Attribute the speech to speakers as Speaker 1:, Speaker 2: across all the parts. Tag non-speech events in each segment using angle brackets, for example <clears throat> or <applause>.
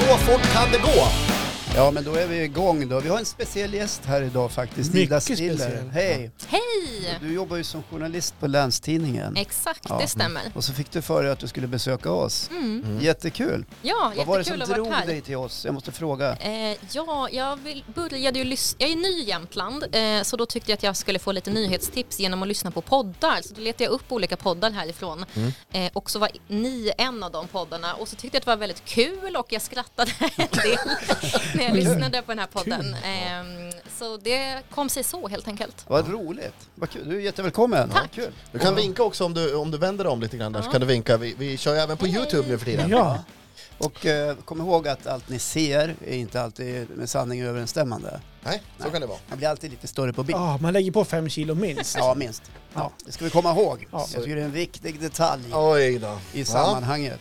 Speaker 1: Så fort kan det gå!
Speaker 2: Ja, men då är vi igång då. Vi har en speciell gäst här idag faktiskt,
Speaker 3: Mycket
Speaker 2: Ida Stiller.
Speaker 3: speciell.
Speaker 2: Hej!
Speaker 4: Hej!
Speaker 2: Du jobbar ju som journalist på Länstidningen.
Speaker 4: Exakt,
Speaker 2: Ja.
Speaker 4: det stämmer.
Speaker 2: Och så fick du för dig att du skulle besöka oss.
Speaker 3: Mm.
Speaker 2: Jättekul!
Speaker 4: Ja,
Speaker 2: Vad var det som
Speaker 4: jättekul att
Speaker 2: drog
Speaker 4: vara här.
Speaker 2: dig till oss? Jag måste fråga.
Speaker 4: Eh, ja, jag vill, började ju lyssna. Jag är ny i Jämtland, eh, så då tyckte jag att jag skulle få lite nyhetstips genom att lyssna på poddar. Så då letade jag upp olika poddar härifrån.
Speaker 2: Mm.
Speaker 4: Eh, och så var ni en av de poddarna. Och så tyckte jag att det var väldigt kul och jag skrattade <laughs> en
Speaker 2: <laughs>
Speaker 4: del när jag lyssnade på den här podden. Eh, så det kom sig så helt enkelt.
Speaker 2: Vad roligt! Vad kul. Du är jättevälkommen!
Speaker 4: Tack.
Speaker 2: Kul.
Speaker 1: Du kan vinka också om du, om du vänder dig om lite grann där så kan du vinka. Vi, vi kör ju även på Youtube nu för tiden.
Speaker 3: Ja,
Speaker 2: Och eh, kom ihåg att allt ni ser är inte alltid med sanning överensstämmande.
Speaker 1: Nej, så kan det vara.
Speaker 2: Man blir alltid lite större på bild.
Speaker 3: ja man lägger på fem kilo minst.
Speaker 2: Ja, minst. Ja, det ska vi komma ihåg.
Speaker 3: Ja.
Speaker 2: Jag tycker det är en viktig detalj.
Speaker 1: Oj då.
Speaker 2: i sammanhanget.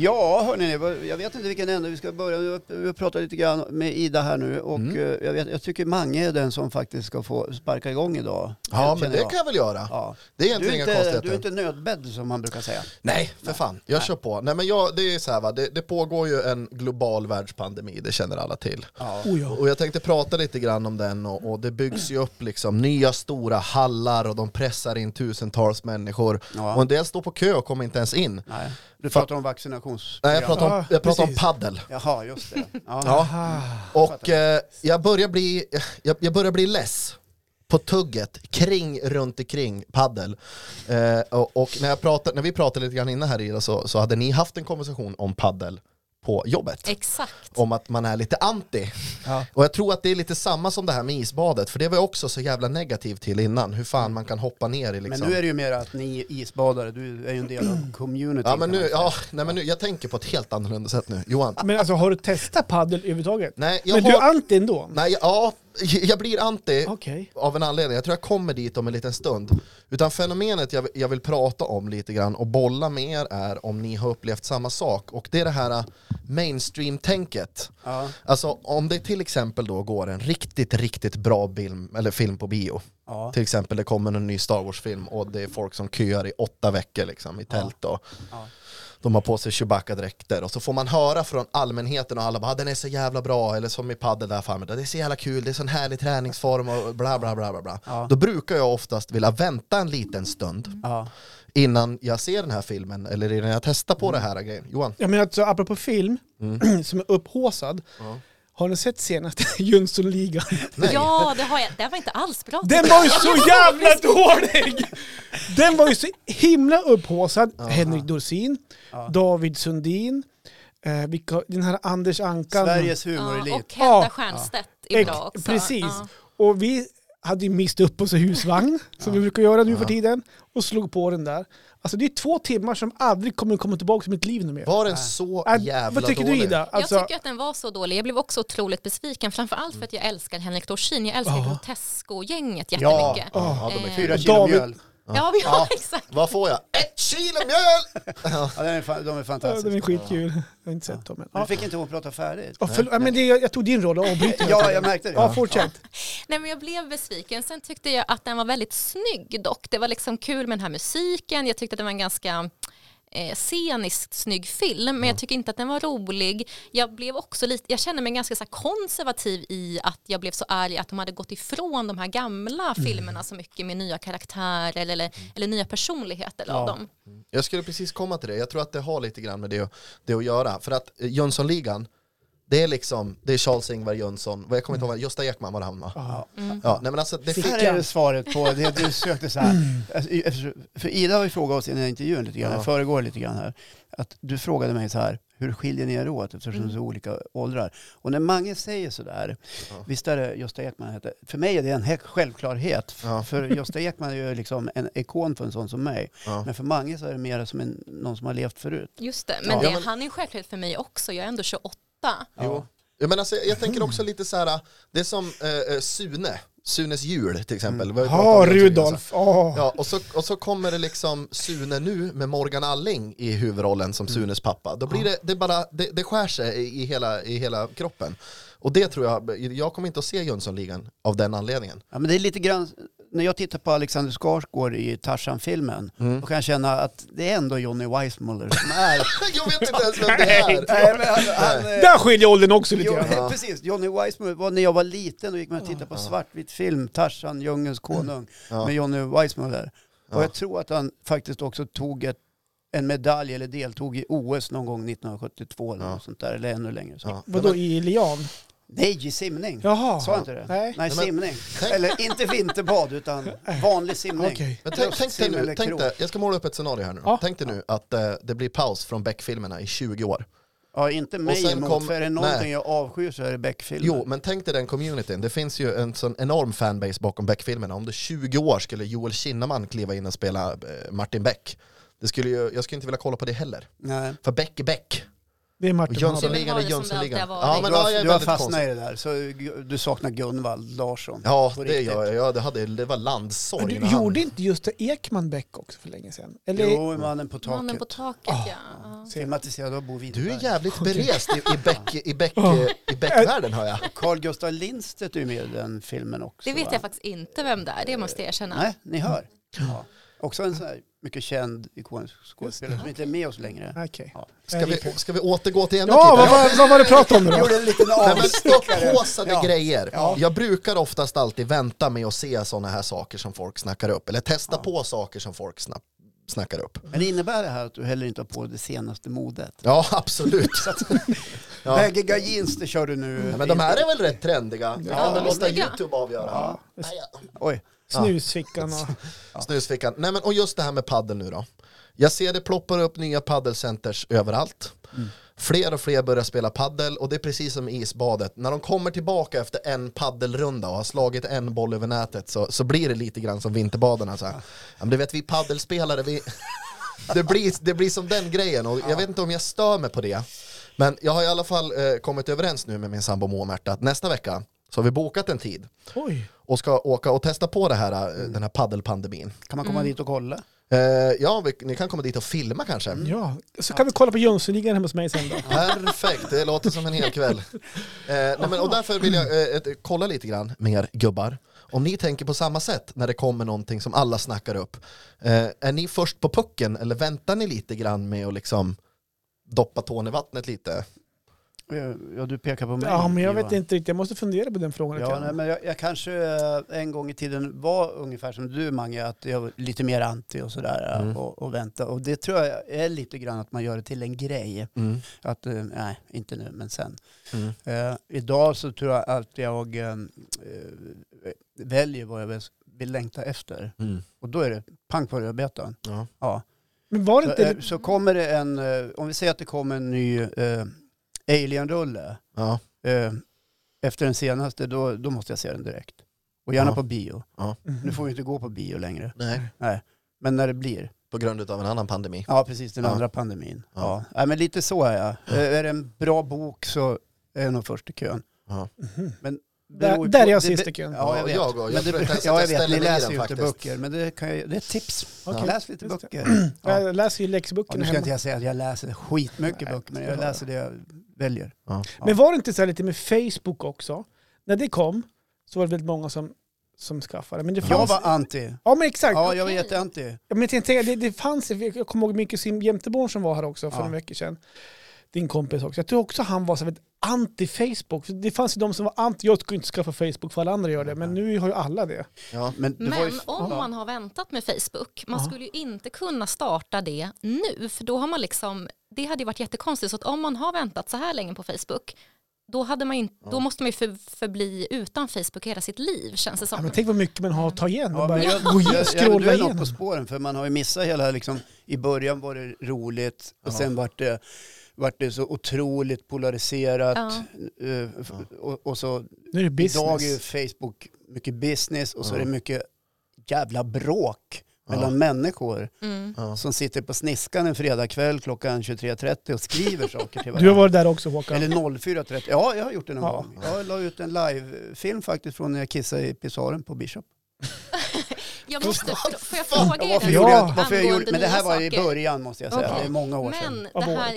Speaker 2: Ja, hörni, vad- jag vet inte vilken ände vi ska börja. Vi har- Vi har pratat lite grann med Ida här nu och
Speaker 1: Mm.
Speaker 2: eh, jag, vet, jag tycker Mange är den som faktiskt ska få sparka igång idag.
Speaker 1: Ja, men
Speaker 2: Känner
Speaker 1: det
Speaker 2: jag.
Speaker 1: kan jag väl göra.
Speaker 2: Ja.
Speaker 1: Det
Speaker 2: Du,
Speaker 1: är
Speaker 2: är
Speaker 1: egentligen inga
Speaker 2: inte,
Speaker 1: konstigheter.
Speaker 2: du är inte nödbädd som man brukar säga.
Speaker 1: Nej, för fan. Jag kör på. Nej, men jag, det är så här va, det, det pågår ju en global världspandemi, det känner alla till.
Speaker 2: Ja.
Speaker 3: Oh, ja.
Speaker 1: Och jag tänkte prata lite grann om den och, och det byggs ju upp liksom nya stora hallar och de pressar in tusentals människor.
Speaker 2: Ja.
Speaker 1: Och en del står på kö och kommer inte ens in.
Speaker 2: Nej. Du pratar om vaccinations...
Speaker 1: Nej, jag pratar om,
Speaker 3: Ja,
Speaker 1: jag pratar om
Speaker 3: precis.
Speaker 1: paddel.
Speaker 2: Jaha, just det. Ja.
Speaker 1: Och eh, jag, börjar bli, jag, jag börjar bli less på tugget kring, runt omkring paddel. Eh, och och när, jag pratade, när vi pratade lite grann innan här Ida så, så hade ni haft en konversation om paddel på jobbet.
Speaker 4: Exakt.
Speaker 1: Om att man är lite anti.
Speaker 3: Ja.
Speaker 1: Och jag tror att det är lite samma som det här med isbadet, för det var jag också så jävla negativ till innan, hur fan man kan hoppa ner i
Speaker 2: Men
Speaker 1: liksom.
Speaker 2: nu är det ju mer att ni isbadare, du är ju en del av community.
Speaker 1: Ja
Speaker 2: kan
Speaker 1: men
Speaker 2: man
Speaker 1: nu,
Speaker 2: säga.
Speaker 1: ja, nej men nu, jag tänker på ett helt annorlunda sätt nu. Johan,
Speaker 3: Men alltså har du testat paddel överhuvudtaget?
Speaker 1: Nej, jag
Speaker 3: Men du
Speaker 1: har-
Speaker 3: är anti ändå?
Speaker 1: nej, ja, jag blir anti
Speaker 3: Okej.
Speaker 1: av en anledning. Jag tror jag kommer dit om en liten stund. Utan fenomenet jag, jag vill prata om lite grann och bolla med er är om ni har upplevt samma sak. Och det är det här eh, mainstream-tänket.
Speaker 2: Ja.
Speaker 1: Alltså om det till exempel då går en riktigt, riktigt bra film, eller film på bio.
Speaker 2: Ja.
Speaker 1: Till exempel det kommer en ny Star Wars-film och det är folk som köar i åtta veckor liksom, i tält. Och De har på sig Chewbacca-dräkter och så får man höra från allmänheten och alla bara "Ah, den är så jävla bra eller som i padel där framme, det är så jävla kul, det är sån härlig träningsform och bla bla bla bla. bla.
Speaker 2: Ja.
Speaker 1: Då brukar jag oftast vilja vänta en liten stund
Speaker 2: Ja.
Speaker 1: innan jag ser den här filmen eller innan jag testar på det här grejen. Johan?
Speaker 3: Ja, men alltså, apropå film <clears throat>
Speaker 1: Mm.
Speaker 3: som är upphåsad. Har ni sett senaste <laughs> Jönssonligan?
Speaker 1: Nej.
Speaker 4: Ja, det har jag. Det var inte alls bra.
Speaker 3: Den var ju så jävla dålig! Den var ju så himla upphåsad. Henrik Dorsin, David Sundin, eh, vilka, den här Anders Ankan.
Speaker 2: Sveriges
Speaker 4: Ja,
Speaker 2: humorelit.
Speaker 4: och
Speaker 3: Ja.
Speaker 4: Hedda Stiernstedt är
Speaker 3: Ex-
Speaker 4: bra också.
Speaker 3: Precis.
Speaker 4: Ja.
Speaker 3: Och vi hade ju mist upp oss i husvagn, som vi brukar göra nu för tiden, och slog på den där. Alltså det är två timmar som aldrig kommer komma tillbaka till mitt liv nu mer.
Speaker 1: Var den så
Speaker 3: Äh,
Speaker 1: jävla
Speaker 3: Vad tycker
Speaker 1: dålig?
Speaker 3: du Ida? Alltså,
Speaker 4: jag tycker att den var så dålig. Jag blev också otroligt besviken, framförallt för att jag älskar Henrik Dorsin. Jag älskar Grotesco-gänget jättemycket. Ja,
Speaker 1: Ja,
Speaker 3: Äh.
Speaker 1: de är kul.
Speaker 2: Fyra kilo
Speaker 3: David-
Speaker 2: mjöl.
Speaker 4: ja, vi har <laughs> exakt.
Speaker 1: Vad får jag? Ett kilo mjöl!
Speaker 2: Ja, den är fa- de är
Speaker 3: ja,
Speaker 2: fantastiska.
Speaker 3: den är skitkul. Jag har inte sett dem än.
Speaker 2: Men
Speaker 3: Ja.
Speaker 2: Du fick inte hon prata färdigt?
Speaker 3: Ja, förlåt, ja, men det, jag jag tog din roll och avbryter.
Speaker 2: Ja, jag märkte det.
Speaker 3: Ja, fortsätt.
Speaker 4: Nej, men jag blev besviken. Sen tyckte jag att den var väldigt snygg dock. Det var liksom kul med den här musiken. Jag tyckte att det var en ganska eh, sceniskt snygg film, men jag tycker inte att den var rolig. Jag, blev också lite, jag kände mig ganska så här konservativ i att jag blev så arg att de hade gått ifrån de här gamla filmerna så mycket med nya karaktärer eller, eller, eller nya personligheter av dem.
Speaker 1: Jag skulle precis komma till det. Jag tror att det har lite grann med det, det att göra. För att eh, Jönssonligan, det är liksom, det är Charles-Ingvar Jönsson, vad jag kommer inte ihåg, vad- Gösta Ekman var det han va? Ja, nej men alltså det
Speaker 2: Det
Speaker 1: fick... Mm.
Speaker 2: här är det svaret på det du sökte så här. Alltså, i- eftersom- För Ida har ju frågat oss i den här intervjun lite grann,
Speaker 1: Ja.
Speaker 2: jag föregår lite grann här, att du frågade mig så här, hur skiljer ni er åt eftersom
Speaker 1: Mm.
Speaker 2: det är så olika åldrar? Och när Mange säger så där, visst är det Gösta Ekman heter, för mig är det en hä- självklarhet. F-
Speaker 1: Ja.
Speaker 2: För Gösta Ekman är ju liksom en ikon för en sån som mig.
Speaker 1: Ja.
Speaker 2: Men för Mange så är det mer som en, någon som har levt förut.
Speaker 4: Just det, men,
Speaker 1: Ja.
Speaker 4: det,
Speaker 1: Ja, men-
Speaker 4: han är en självklarhet för mig också. Jag är ändå 28.
Speaker 1: Jo. Jag, menar, alltså, jag tänker också lite så här, det är som eh, eh, Sune, Sunes jul till exempel. Vi har ju pratat
Speaker 3: Ja,
Speaker 1: om det tidigare, så.
Speaker 3: Rudolf. Ja.
Speaker 1: Ja, och så, och så kommer det liksom Sune nu med Morgan Alling i huvudrollen som Sunes pappa. Då blir det, det bara, det, det skär sig i, i, hela, i hela kroppen. Och det tror jag, jag kommer inte att se Jönssonligan av den anledningen.
Speaker 2: Ja, men det är lite grann när jag tittar på Alexander Skarsgård i Tarzan-filmen,
Speaker 1: Mm.
Speaker 2: då kan jag känna att det är ändå Johnny Weissmuller som
Speaker 1: <laughs>
Speaker 2: är...
Speaker 1: Jag vet inte ens vem det är.
Speaker 2: Nej, men han, han, eh,
Speaker 3: Där skiljer åldern också lite
Speaker 2: Jo, <laughs>
Speaker 3: grann.
Speaker 1: Ja.
Speaker 2: precis. Johnny Weissmuller var när jag var liten och gick man och tittade på svartvit film, Tarzan, Djungelns konung,
Speaker 1: <clears throat> Ja.
Speaker 2: med Johnny Weissmuller.
Speaker 1: Ja.
Speaker 2: Och jag tror att han faktiskt också tog ett, en medalj eller deltog i OS någon gång 1972 eller
Speaker 1: Ja.
Speaker 2: något sånt där, eller ännu längre. Så.
Speaker 1: Ja.
Speaker 3: Vadå i lian?
Speaker 2: Nej, i simning.
Speaker 3: Jaha.
Speaker 2: Sa jag inte det?
Speaker 3: Nej.
Speaker 2: Nej,
Speaker 1: men- <laughs>
Speaker 2: simning.
Speaker 1: Tänk-
Speaker 2: Eller inte vinterbad, utan vanlig simning.
Speaker 3: Okej.
Speaker 1: Men tänk, tänk, dig
Speaker 2: Luftsim
Speaker 1: nu,
Speaker 2: eller
Speaker 1: tänk
Speaker 2: krok.
Speaker 1: dig, jag ska måla upp ett scenario här nu.
Speaker 3: Ja.
Speaker 1: Tänk dig nu att eh, det blir paus från Beck-filmerna i 20 år.
Speaker 2: Ja, inte mig
Speaker 1: sen
Speaker 2: emot,
Speaker 1: kom-
Speaker 2: för är det någonting
Speaker 1: nej.
Speaker 2: jag avskyr så är det Beck-filmer.
Speaker 1: Jo, men tänk dig den communityn. Det finns ju en sån enorm fanbase bakom Beck-filmerna. Om det 20 år skulle Joel Kinnaman kliva in och spela eh, Martin Beck. Det skulle ju, jag skulle inte vilja kolla på det heller.
Speaker 2: Nej.
Speaker 1: För Beck är Beck.
Speaker 3: Det är
Speaker 1: Och
Speaker 3: Martin. Haber.
Speaker 1: Jönssonligan är
Speaker 4: Det är som det alltid
Speaker 1: Jönssonligan.
Speaker 4: har varit.
Speaker 1: Ja, men
Speaker 2: du har,
Speaker 1: ja, jag är
Speaker 2: du har
Speaker 1: väldigt
Speaker 2: fastnat
Speaker 1: konstig.
Speaker 2: i det där, så du saknar Gunvald Larsson.
Speaker 1: Ja,
Speaker 2: på
Speaker 1: det
Speaker 2: riktigt.
Speaker 1: gör jag. Ja, det, hade, det var landsorg.
Speaker 3: Men du
Speaker 1: när han-
Speaker 3: gjorde inte just det Ekman Beck också för länge sedan? Eller?
Speaker 2: Jo, mannen på taket.
Speaker 4: Mannen på taket
Speaker 2: Ah.
Speaker 4: ja. ja.
Speaker 2: Filmatiserad av Bo Widerberg.
Speaker 1: Du är jävligt berest i, i, Beck, i, Beck, i Beck-världen hör jag.
Speaker 2: Carl Gustaf Lindstedt är ju med i den filmen också.
Speaker 4: Det vet
Speaker 2: va?
Speaker 4: jag faktiskt inte vem det är, det måste jag erkänna.
Speaker 2: Nej, ni hör.
Speaker 1: Mm.
Speaker 2: Ja. Också en sån här mycket känd ikonisk skådespelare som inte är med oss längre.
Speaker 3: Okej.
Speaker 2: Ja.
Speaker 1: Ska vi, ska vi återgå till ämnet
Speaker 3: Ja,
Speaker 1: lite?
Speaker 3: vad var, vad var det prat om
Speaker 2: Jag
Speaker 3: då?
Speaker 2: gjorde en liten
Speaker 1: Nej, men
Speaker 2: avstickare.
Speaker 1: upphaussade
Speaker 2: Ja.
Speaker 1: grejer. Jag brukar oftast alltid vänta med att se sådana här saker som folk snackar upp. Eller testa på saker som folk snack, snackar upp.
Speaker 2: Men innebär det här att du heller inte har på det senaste modet?
Speaker 1: Ja, absolut.
Speaker 3: <laughs> Alltså,
Speaker 1: Ja.
Speaker 2: Baggiga jeans, det kör du nu.
Speaker 1: Nej, men de här är väl rätt trendiga? Det kan
Speaker 4: Ja,
Speaker 1: väl låta
Speaker 4: snygga.
Speaker 1: YouTube avgöra.
Speaker 2: Ja.
Speaker 1: Nej, ja.
Speaker 2: Oj,
Speaker 3: Snusfickan och...
Speaker 1: Snusfickan. Nej, men, och just det här med paddel nu då. Jag ser det ploppar upp nya paddelcenters överallt. Fler och fler börjar spela paddel och det är precis som i isbadet. När de kommer tillbaka efter en paddelrunda och har slagit en boll över nätet så, så blir det lite grann som vinterbadarna. Så här. Ja, men du vet, vi paddelspelare, vi... <laughs> Det blir, det blir som den grejen och jag vet inte om jag stör mig på det. Men jag har i alla fall eh, kommit överens nu med min sambo Moa Märta att nästa vecka så har vi bokat en tid
Speaker 3: Oj.
Speaker 1: och ska åka och testa på det här, eh, den här paddelpandemin.
Speaker 2: kan man
Speaker 3: Mm.
Speaker 2: komma dit och kolla?
Speaker 1: Eh, ja, vi, ni kan komma dit och filma kanske.
Speaker 3: Mm. Ja, så kan vi kolla på Jönssonligan hemma hos mig sen då.
Speaker 1: Perfekt, det låter som en hel kväll. Eh, nej, men, och därför vill jag eh, ett, kolla lite grann med er gubbar. Om ni tänker på samma sätt när det kommer någonting som alla snackar upp, eh, är ni först på pucken eller väntar ni lite grann med att liksom doppa tån i vattnet lite?
Speaker 2: Ja, du pekar på mig.
Speaker 3: Ja, men jag vet
Speaker 2: Johan.
Speaker 3: inte riktigt. Jag måste fundera på den frågan. lite
Speaker 2: Ja,
Speaker 3: grann.
Speaker 2: nej, men jag, jag kanske eh, en gång i tiden var ungefär som du Mange, att jag var lite mer anti och sådär eh,
Speaker 1: Mm.
Speaker 2: och, och vänta. Och det tror jag är lite grann att man gör det till en grej. Att, eh, nej, inte nu, men sen.
Speaker 1: Mm.
Speaker 2: Eh, idag så tror jag att jag eh, eh, väljer vad jag vill, vill längta efter. Och då är det pang på rödbetan.
Speaker 1: Ja.
Speaker 2: Ja.
Speaker 3: Men var det
Speaker 2: Så,
Speaker 3: inte...
Speaker 2: eh, så kommer det en, eh, om vi säger att det kommer en ny eh, Alien-rulle
Speaker 1: Ja.
Speaker 2: eh, efter den senaste, då, då måste jag se den direkt. Och gärna
Speaker 1: Ja.
Speaker 2: på bio. Nu
Speaker 3: Mhm.
Speaker 2: får vi inte gå på bio längre.
Speaker 1: Nej,
Speaker 2: Men när det blir.
Speaker 1: på grund av en annan pandemi.
Speaker 2: Ja, precis. Den
Speaker 1: Ja.
Speaker 2: andra pandemin.
Speaker 1: Ja.
Speaker 2: Ja. Nej, men lite så är jag. Eh, Är det en bra bok så är jag nog först i kön.
Speaker 1: Ja.
Speaker 2: eh,
Speaker 3: Mhm.
Speaker 2: Men
Speaker 3: Där-
Speaker 2: beror ju
Speaker 3: där är
Speaker 2: på-
Speaker 3: jag
Speaker 2: det
Speaker 3: sist
Speaker 2: be-
Speaker 3: i kön.
Speaker 2: Ja, jag
Speaker 1: Ja,
Speaker 2: vet.
Speaker 1: jag och-
Speaker 2: men
Speaker 1: jag
Speaker 2: det,
Speaker 1: tror inte ens att
Speaker 2: ja,
Speaker 1: jag
Speaker 2: jag vet.
Speaker 1: ställer
Speaker 2: Ni
Speaker 1: mig i
Speaker 2: läser
Speaker 1: den
Speaker 2: ju inte
Speaker 1: faktiskt.
Speaker 2: böcker. Men det, kan ju, det är ett tips.
Speaker 3: Okej.
Speaker 2: Läs lite
Speaker 3: Just det.
Speaker 2: böcker. Ja.
Speaker 3: Jag läser ju läxböckerna
Speaker 2: Nu ska
Speaker 3: hemma.
Speaker 2: inte jag säga att jag läser skitmycket böcker, men jag läser det jag väljer.
Speaker 3: Men var det inte så här lite med Facebook också? När det kom så var det väldigt många som, som skaffade. Men det
Speaker 2: Jag
Speaker 3: fanns...
Speaker 2: var anti.
Speaker 3: Ja men exakt.
Speaker 2: Ja, jag var jätteanti.
Speaker 3: Ja, Men jag tänkte, säga, det, det fanns, jag kommer ihåg min kusin Jämteborn som var här också för
Speaker 2: Ja.
Speaker 3: några veckor sedan. Din kompis också. Jag tror också han var så väldigt anti-Facebook. För Det fanns ju de som var anti, jag skulle inte skaffa Facebook för alla andra gör det, men nu har ju alla det.
Speaker 1: Ja.
Speaker 2: Men, det var ju...
Speaker 4: Men om man har väntat med Facebook, man skulle ju inte kunna starta det nu, för då har man liksom, det hade ju varit jättekonstigt, så att om man har väntat så här länge på Facebook, då, hade man ju, inte- då måste man ju för, förbli utan Facebook hela sitt liv, känns det
Speaker 3: Ja,
Speaker 4: som.
Speaker 3: men tänk vad mycket man har att ta igen.
Speaker 2: Ja, men
Speaker 3: och bara
Speaker 2: jag,
Speaker 3: gå in
Speaker 2: jag,
Speaker 3: och
Speaker 2: jag, du
Speaker 3: scrolla
Speaker 2: är nog på
Speaker 3: igen.
Speaker 2: spåren för man har ju missat hela liksom, i början var det roligt och sen vart det, vart det så otroligt polariserat eh, f- och, och så
Speaker 3: Nu är det
Speaker 2: idag är ju
Speaker 3: business.
Speaker 2: Facebook mycket business och så är det mycket jävla bråk mellan människor
Speaker 4: Mm.
Speaker 2: som sitter på sniskan en fredagkväll klockan 23.30 och skriver saker till
Speaker 3: Du har
Speaker 2: varandra.
Speaker 3: varit där också Håkan.
Speaker 2: Eller 04.30. Ja, jag har gjort det någon
Speaker 3: Ja.
Speaker 2: gång. Jag la ut en livefilm faktiskt från när jag kissade i pissoaren på Bishop.
Speaker 4: Jag måste, får jag fråga
Speaker 2: Ja,
Speaker 4: er
Speaker 2: varför gjorde jag,
Speaker 3: Ja.
Speaker 2: varför jag gjorde,
Speaker 4: angående
Speaker 2: men det här
Speaker 4: nya
Speaker 2: var i
Speaker 4: saker?
Speaker 2: början måste jag säga.
Speaker 4: Okej.
Speaker 2: Det är många år sedan.
Speaker 4: Men det här